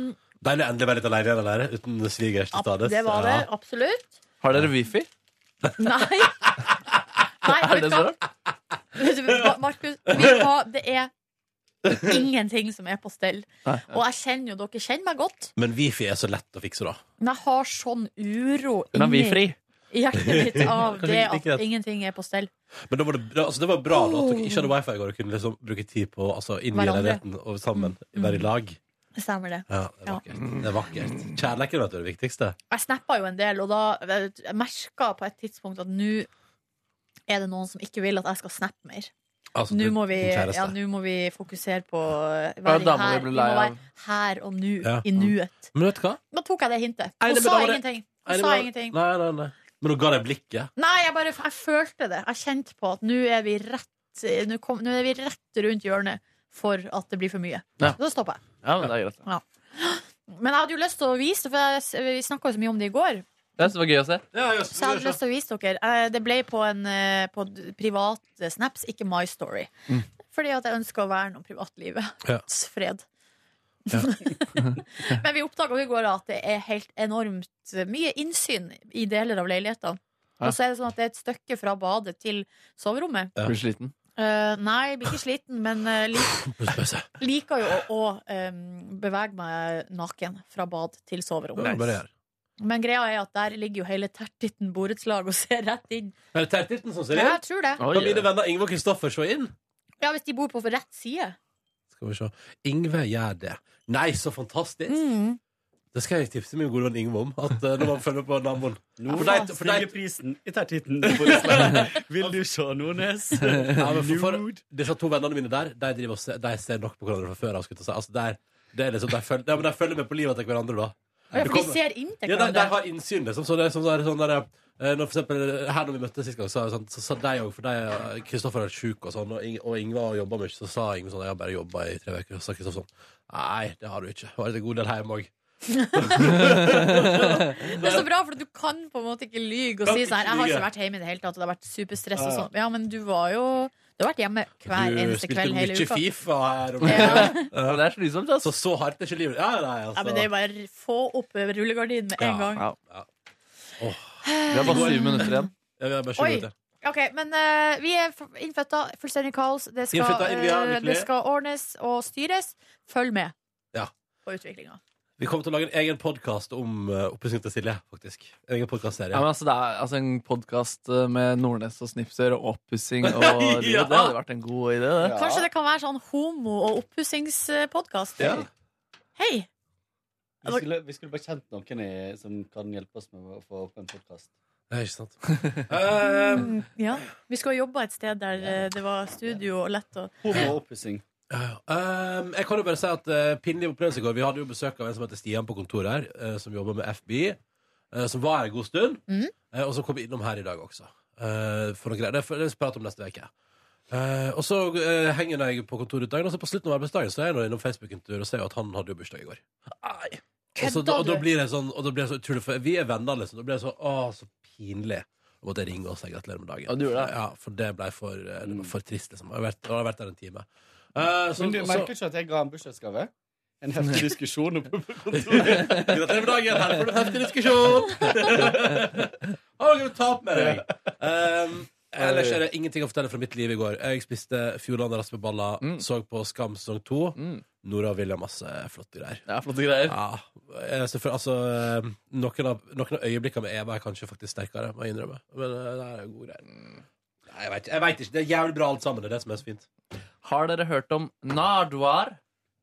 Deilig å endelig være litt alene igjen der, uten svigers til
ab-
stades.
det var det. Absolutt.
Har dere wifi?
Nei. Nei,
Er det så rart?
Ma- Markus, vi har, det er ingenting som er på stell.
Nei.
Og jeg kjenner jo dere kjenner meg godt,
Men wifi er så lett å fikse, da.
men jeg har sånn uro
Men
inni
vi er fri.
i hjertet mitt av
Kanskje
det
ikke like
at
rett.
ingenting er på stell.
Men da var det, bra- altså det var bra da, at dere ikke hadde wifi i går og kunne liksom bruke tid på altså, inn i
Hverandre.
leiligheten og sammen. Være i lag.
Stemmer det.
Mm. Ja, det er
Ja.
vakkert. Det er vakkert. Kjærleiken vet du, er det viktigste.
Jeg snappa jo en del, og da jeg merka på et tidspunkt at nå er det noen som ikke vil at jeg skal snappe mer.
Altså,
nå,
du-
må vi,
din kjæreste.
ja, nå må vi fokusere på å
Ja,
være
da må du
her.
bli
Vi må
lei av-
være her og nå,
Ja.
i nuet.
Men vet du hva?
Da tok jeg det hintet.
Nei, det-
Hun
men
sa
da var det-
ingenting.
Nei,
Hun
det
sa
var-
ingenting.
Nei, nei, nei. Men hun ga deg blikket.
Nei, jeg bare jeg følte det. Jeg kjente på at nå er vi rett Nå, kom, nå er vi rett rundt hjørnet for at det blir for mye.
Ja.
Så Da stopper jeg.
Ja, men det er greit.
Ja. Men jeg hadde jo lyst til å vise det, for jeg, vi snakka jo så mye om det i går.
Det var gøy å se.
Så jeg hadde lyst til å vise dere. Eh, Det ble på en eh, på d- privat eh, snaps, ikke My Story.
Mm.
Fordi at jeg ønsker å verne om privatlivets
Ja.
fred. Men vi oppdaga i går at det er helt enormt eh, mye innsyn i deler av leilighetene.
Ja.
Og så er det sånn at det er et stykke fra badet til soverommet.
Blir du sliten?
Eh, nei, blir ikke sliten, men eh, lik, liker jo å, å em, bevege meg naken fra bad til soverom.
Ja, det bare gjør.
Men greia er at der ligger jo hele tertitten borettslag og ser rett inn.
Er det tertitten som ser inn?
Ja, jeg tror det.
Kan mine venner Ingve og Kristoffer se inn?
Ja, Hvis de bor på rett side.
Skal vi se. Ingve gjør det. Nei, så fantastisk!
Mm.
Det skal jeg tipse min gode venn Ingve om. At eh, når man følger på naboen
Nå
For deg- for deg-
stiger prisen i tertitten. på Island. Vil du se Nordnes?
ja, men for, for, disse to vennene mine der De, driver og ser, de ser nok på hverandre fra før. av, skulle jeg til å si. Altså, der, det er liksom, de, følger, ja, men de følger med på livet til hverandre, da.
Ja,
Det
for de
kommer-
ser inn
Ja,
til
de, de
hverandre.
har innsyn, liksom. Så det er sånn, så er det sånn der, eh, når for eksempel, her når vi møttes sist gang, så, så, så sa de òg For de, eh, Kristoffer er sjuk, og sånn, og, Ing, og Ingvar jobba mye, så sa Ingvar sånn Jeg har bare jobba i tre uker. Og så sa Kristoffer sånn Nei, det har du ikke. Har en god del hjemme òg.
Det er så bra, for du kan på en måte ikke lyge og
Kan
si
ikke
sånn her, Jeg har
lyge.
ikke vært hjemme i det hele tatt, og det har vært superstress og
Ja, ja.
sånn. Ja, men du var jo Du har vært hjemme hver
Du
eneste
spilte
kveld hele
mye
uka.
Fifa her om Det er slitsomt, altså. Så så hardt er ikke livet. Ja, nei, altså.
Ja, men det er bare få opp rullegardinen med en gang.
Ja. Åh. Vi har bare syv minutter igjen. Ja, vi har bare syv
Oi.
minutter.
Ok, men eh, vi er f- innfødta. Fullstendig kaos. Det skal,
Innfødta, Elvia,
eh,
lykkelig.
det skal ordnes og styres. Følg med
Ja.
på utviklinga.
Vi kommer til å lage en egen podkast om uh, oppussing til Silje, faktisk. En egen
Ja,
podkastserie.
men altså, det er altså, en podkast med Nordnes og Snipser og oppussing og livet.
Ja.
Det hadde vært en god idé, det.
Kanskje det kan være sånn homo- og oppussingspodkast?
Ja.
Hei!
Vi skulle, vi skulle bare kjent noen i, som kan hjelpe oss med å få opp en podkast.
Ja, ikke sant? Eh,
Ja. Vi skulle ha jobba et sted der eh, det var studio og lett å
Homo og oppussing.
Um, jeg kan jo bare si at uh, pinlig opplevelse i går Vi hadde jo besøk av en som heter Stian på kontoret her, eh, som jobber med FBI. eh, som var her en god stund, eh, og som kom innom her i dag også. Eh, for noe greier. Det får vi prate om neste uke. Eh, og så eh, henger jeg på kontoret ut dagen, og så på slutten av arbeidsdagen Så er jeg nå innom Facebook en tur og ser jo at han hadde jo bursdag i går. Og, så,
Kødda
og da
du?
blir det sånn og da blir det så utrolig for Vi er venner, liksom. Da blir det så, å, så pinlig. Da måtte jeg ringe og si gratulerer med dagen. Ja, For det ble for, eh, det var for trist, liksom. Jeg har vært, jeg har vært der en time. Eh, så-
Men du
og så-
merker ikke at jeg ga en bursdagsgave? En heftig diskusjon oppe på kontoret.
Gratulerer med dagen! Her får du heftig diskusjon! Har dere tap med deg? Um, ellers er det ingenting å fortelle fra mitt liv i går. Jeg spiste Fjordland raspeballer,
Mm.
så på Skam sesong 2. Nora og William altså, masse flotte greier.
Ja, flotte greier.
eh, selvføl- altså, eh, noen, av, noen av øyeblikkene med Eva er kanskje faktisk sterkere, må jeg innrømme. Men eh, det er gode greier.
Mm.
Nei, jeg vet ikke. Jeg vet ikke. Det er jævlig bra alt sammen. Det er det som er så fint.
Har dere hørt om Narduar?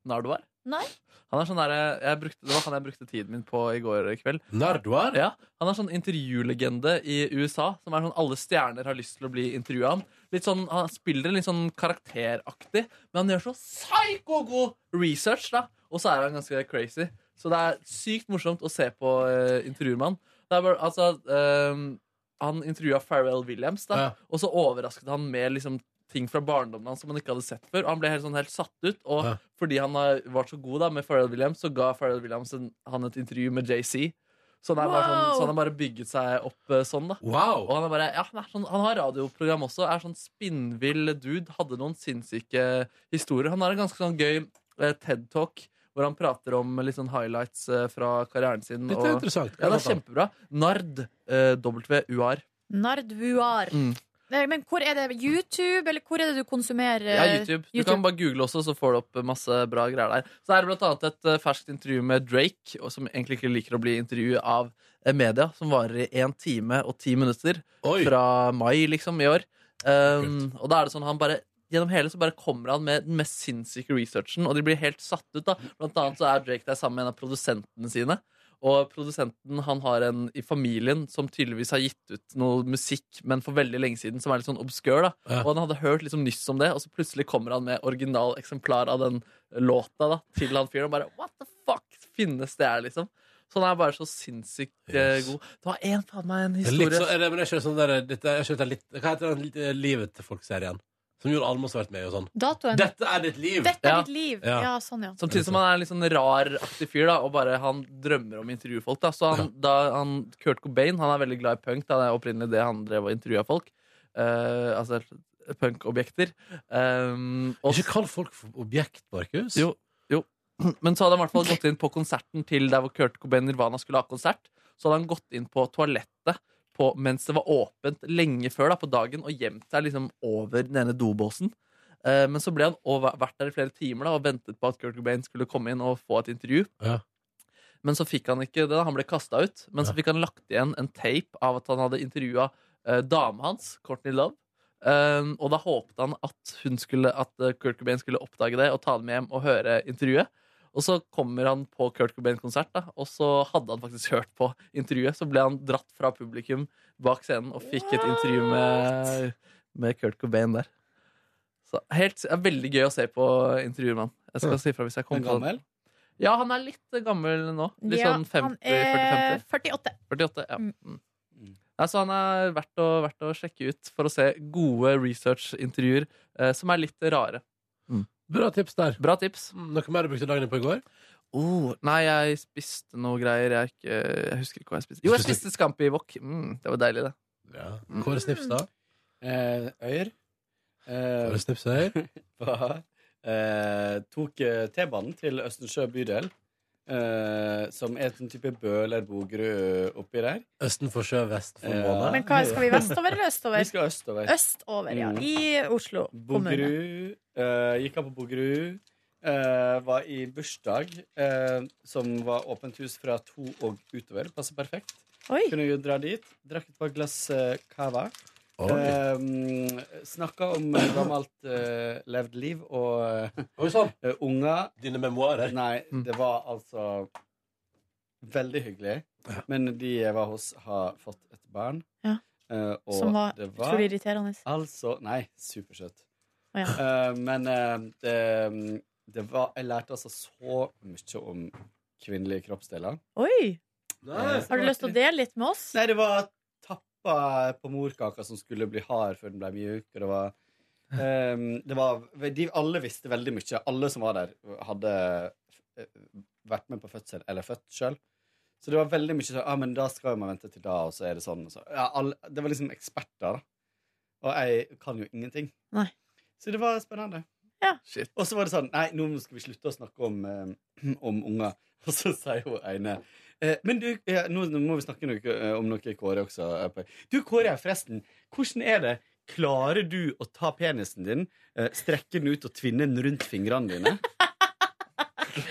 Narduar?
Nei.
Han er sånn der, jeg brukte, det var han jeg brukte tiden min på i går kveld.
Narduar?
Ja, Han er sånn intervjulegende i USA. Som er sånn Alle stjerner har lyst til å bli intervjua. Han. Litt sånn, han spiller litt sånn karakteraktig, men han gjør så psyko-god research, da. Og så er han ganske crazy. Så det er sykt morsomt å se på eh, intervjuer med han. Det er bare, altså, ehm, han intervjua Pharrell Williams, da,
Ja.
og så overrasket han med liksom, ting fra barndommen hans som han ikke hadde sett før. Og han ble helt, sånn, helt satt ut. Og
Ja.
fordi han har vært så god da, med Pharrell Williams, så ga Pharrell Williams en, han et intervju med JC. Så han, er bare sånn,
Wow!
så han har bare bygget seg opp eh, sånn, da.
Wow!
Og han, er bare, ja, han, er sånn, han har radioprogram også. Er sånn spinnvill dude. Hadde noen sinnssyke historier. Han har en ganske sånn gøy eh, TED-talk hvor han prater om litt sånn highlights eh, fra karrieren sin.
Dette er interessant.
Ja, det er kjempebra. Nard. Eh, W-U-R.
Nardvuar.
Mm.
Eh, Men hvor er det YouTube, eller hvor er det du konsumerer eh,
Ja, YouTube. Du kan bare google også, så får du opp masse bra greier der. Så er det blant annet et eh, ferskt intervju med Drake, og som egentlig ikke liker å bli intervjuet av eh, media, som varer i én time og ti minutter fra mai liksom i år. Um, og da er det sånn han bare Gjennom hele så bare kommer han med den mest sinnssyke researchen, og de blir helt satt ut. da Blant annet så er Drake der sammen med en av produsentene sine. Og produsenten han har en i familien som tydeligvis har gitt ut noe musikk, men for veldig lenge siden, som er litt sånn obskør. da
Ja.
Og han hadde hørt liksom nyss om det, og så plutselig kommer han med originaleksemplar av den låta da til han fyren. Og bare what the fuck finnes det her, liksom? Så han er bare så sinnssykt eh, god. Det var en, faen meg, en
Det er
historie
Litt så, er det, men det er ikke sånn der, dette, er ikke dette litt, Hva heter den eh, Livet til folk-serien? Som Jon Almaas har vært med i og sånn.
eh, Datoen.
Dette er ditt liv!
Dette er ditt liv. Ja. sånn, ja.
Samtidig som han er en litt sånn raraktig fyr, da, og bare han drømmer om å intervjue folk. Da. Så han, da, han, Kurt Cobain han er veldig glad i punk. Da. Det er opprinnelig det han drev og intervjua folk. Eh, altså punkobjekter. Um,
Ikke kall folk for objekt, Markus.
Jo, jo. Men så hadde han i hvert fall gått inn på konserten til der hvor Kurt Cobain Nirvana skulle ha konsert. Så hadde han gått inn på toalettet på, mens det var åpent lenge før da, på dagen, og gjemt seg liksom over den ene dobåsen. Eh, men så ble han over, vært der i flere timer da, og ventet på at Kurt Cobain skulle komme inn og få et intervju.
Ja.
Men så fikk han ikke det, da. han ble kasta ut. Men så fikk han lagt igjen en tape av at han hadde intervjua eh, dama hans, Courtney Love. Um, og da håpet han at, hun skulle, at eh, Kurt Cobain skulle oppdage det og ta det med hjem og høre intervjuet. Og så kommer han på Kurt Cobain-konsert, da, og så hadde han faktisk hørt på intervjuet. Så ble han dratt fra publikum bak scenen og fikk et intervju med, med Kurt Cobain der. Så helt, det er veldig gøy å se på intervjuer med han. Jeg skal si fra hvis jeg kommer på
Men
det. Ja, han er litt gammel nå. Litt sånn 50,
han er
40-50.
48.
48, ja. Mm. Nei, så han er verdt å, verdt å sjekke ut for å se gode researchintervjuer eh, som er litt rare.
Bra tips der.
Bra tips.
Noe mer du brukte dagen din på i går?
Oh, nei, jeg spiste noe greier. Jeg, er ikke, jeg husker ikke hva jeg spiste. Jo, jeg spiste scampi i wok. Mm, det var deilig, det.
Kåre Snipstad?
Eh, øyer. Eh,
Kåre Snipsøyer?
var- eh, tok eh, T-banen til Østensjø bydel, eh, som er en type Bø eller Bogerud oppi der.
Østen for sjø, vest for
Ja.
måne.
Men hva, skal vi vestover eller østover?
Vi skal østover.
Østover, ja.
Mm.
I Oslo kommune.
Bogerud. eh, gikk av på Bogerud. eh, var i bursdag, eh, som var åpent hus fra to og utover. Passer perfekt. Kunne jo dra dit. Drakk et par glass eh, cava.
Oi.
Um, Snakka om eh, gammelt eh, levd liv og eh, unger.
sånn. Dine memoarer?
Nei, det var altså veldig hyggelig. Men de jeg var hos, har fått et barn.
Ja.
Eh, og
Som var
det var
utrolig irriterende.
Altså Nei, supersøt.
Å, ja.
Eh, men eh, det, det var Jeg lærte altså så mye om kvinnelige kroppsdeler.
Oi!
Nei,
Har du lyst til å dele litt med oss?
Nei, det var tappa på morkaka som skulle bli hard før den ble mjuk. Og det var, ehm, det var de, Alle visste veldig mye. Alle som var der, hadde eh, vært med på fødsel eller født sjøl. Så det var veldig mye sånn ah, men da skal man vente til da, og så er det sånn. Og så. Ja, alle, det var liksom eksperter, da. Og jeg kan jo ingenting.
Nei.
Så det var spennende. Og så var det sånn Nei, nå skal vi slutte å snakke om, eh, om unger. Og så sier hun ene eh, Men du, eh, nå nå må vi snakke noe, eh, om noe Kåre også. er på. Du, Kåre, forresten. Hvordan er det? Klarer du å ta penisen din, eh, strekke den ut og tvinne den rundt fingrene dine?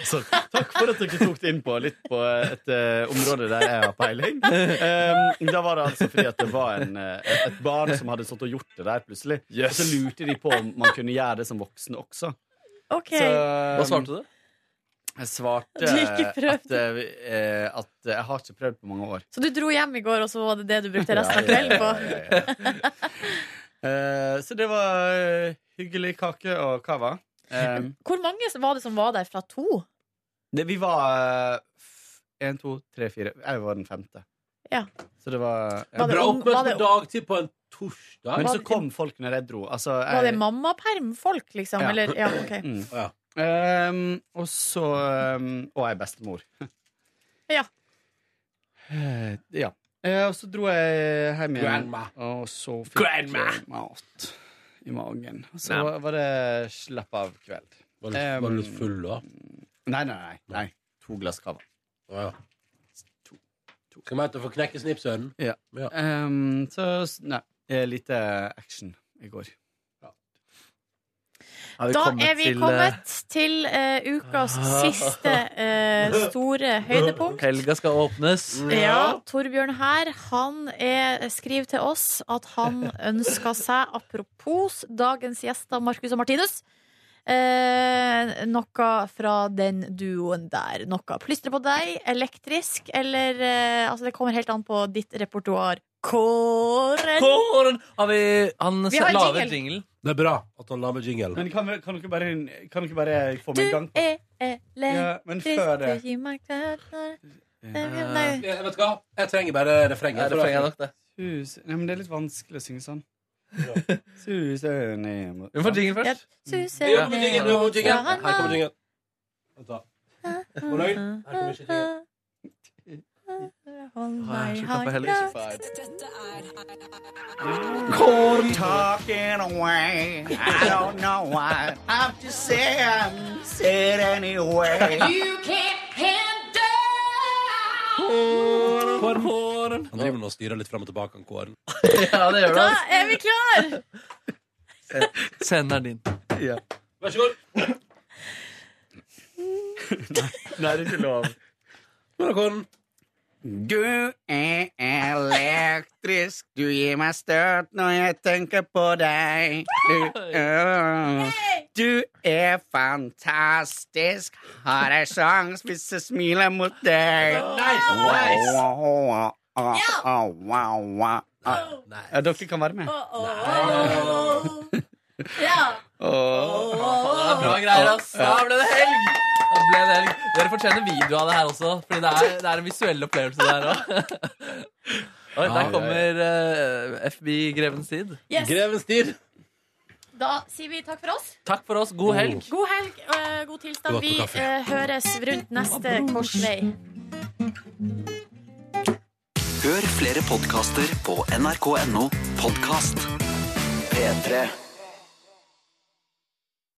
Så takk for at dere tok det inn på litt på et eh, område der jeg har peiling. Um, da var det altså fordi at det var en, eh, et barn som hadde stått og gjort det der plutselig. Og så lurte de på om man kunne gjøre det som voksen også.
Ok.
Så- ehm,
Hva svarte du?
Jeg svarte
Du har ikke prøvd.
at, eh, vi- eh, at jeg har ikke prøvd på mange år.
Så du dro hjem i går, og så var det det du brukte resten av kvelden på?
Eh, så det var eh, hyggelig kake og cava. Eh,
Hvor mange var det som var der fra to?
det- vi var én, to, tre, fire. Jeg var den femte.
Ja.
Så det var,
Var det Bra ung- oppmøte var det- på
dagtid på en torsdag.
Men
Var
så
det-
kom folk når jeg dro. Altså, jeg,
Var det mammapermfolk, liksom?
Ja.
Eller, ja, ok.
Mm. Ehm, og så ehm, Og jeg er bestemor.
Ja.
Eh, ja. Eh, og så dro jeg hjem igjen.
Grandma.
Og så fikk
Grandma.
jeg mat i magen. Og så
Nei.
var- var det slapp av kveld.
Var du- var du litt full da?
Nei, nei, nei. nei. To glass cava.
Ja. Skal vi hete for Knekke Snipsøren?
Ja. Ehm, så s- nei. eh, lite action i går. Har vi
Da
kommet
er vi
til, eh, Ah.
kommet til eh, ukas siste eh, store høydepunkt.
Helga skal åpnes.
Mm. Ja, Torbjørn her, han er, skriver til oss at han ønsker seg, apropos dagens gjester Marcus og Martinus, eh, noe fra den duoen der. Noe plystre på deg, elektrisk, eller eh, Altså, det kommer helt an på ditt repertoar. Kåren!
Kåren! Har vi Han
Vi har en lager jingle. jingle.
Det er bra at han lager jingle.
Men kan, vi- kan dere bare, kan dere bare få meg i gang?
Du er
Ja, men
elektrisk,
før det-
du gir meg krefter.
Eh, jeg vet du hva? Jeg trenger bare refrenget.
Ja,
for da-
refrenget nok det. Sus, nei, men det er litt vanskelig å synge sånn. er Susen ned
Vi får jingle
Ja, suser
Jo, men jingle, jo,
ned
jingle.
fra
Her kommer jingle. Vent da. Fornøyd? Her kommer ikke jingle.
Hold
Ah, jeg
meg
er så kaffe heller ikke
hardt.
Corn talking away. I don't know why. I'm just saying, say it anyway.
Kåren, kåren. Han driver nå og styrer litt fram og tilbake, han kåren.
Ja, det gjør
Da
det.
er vi klar!
Scenen er din.
Vær så god.
Nei, det er ikke lov. Du er elektrisk, du gir meg støt når jeg tenker på deg. Du, øh. du er fantastisk, har jeg sjans hvis jeg smiler mot deg?
Nice, nice.
Wow, wow, wow, wow, wow, wow. Ja, dere kan være med.
Det er bra greier, ass. Da ble det helg! Da ble det helg. Dere fortjener video av det her også, Fordi det er, det er en visuell opplevelse. det her også. Oi, der kommer eh, FBI Grevens tid.
Yes.
Grevens tid.
Da sier vi takk for oss.
Takk for oss. God helg.
God helg, øh, god tilstand.
Godt med
Vi
kaffe.
øh, høres rundt neste korsvei.
Hør flere podkaster på nrk.no podkast. P3.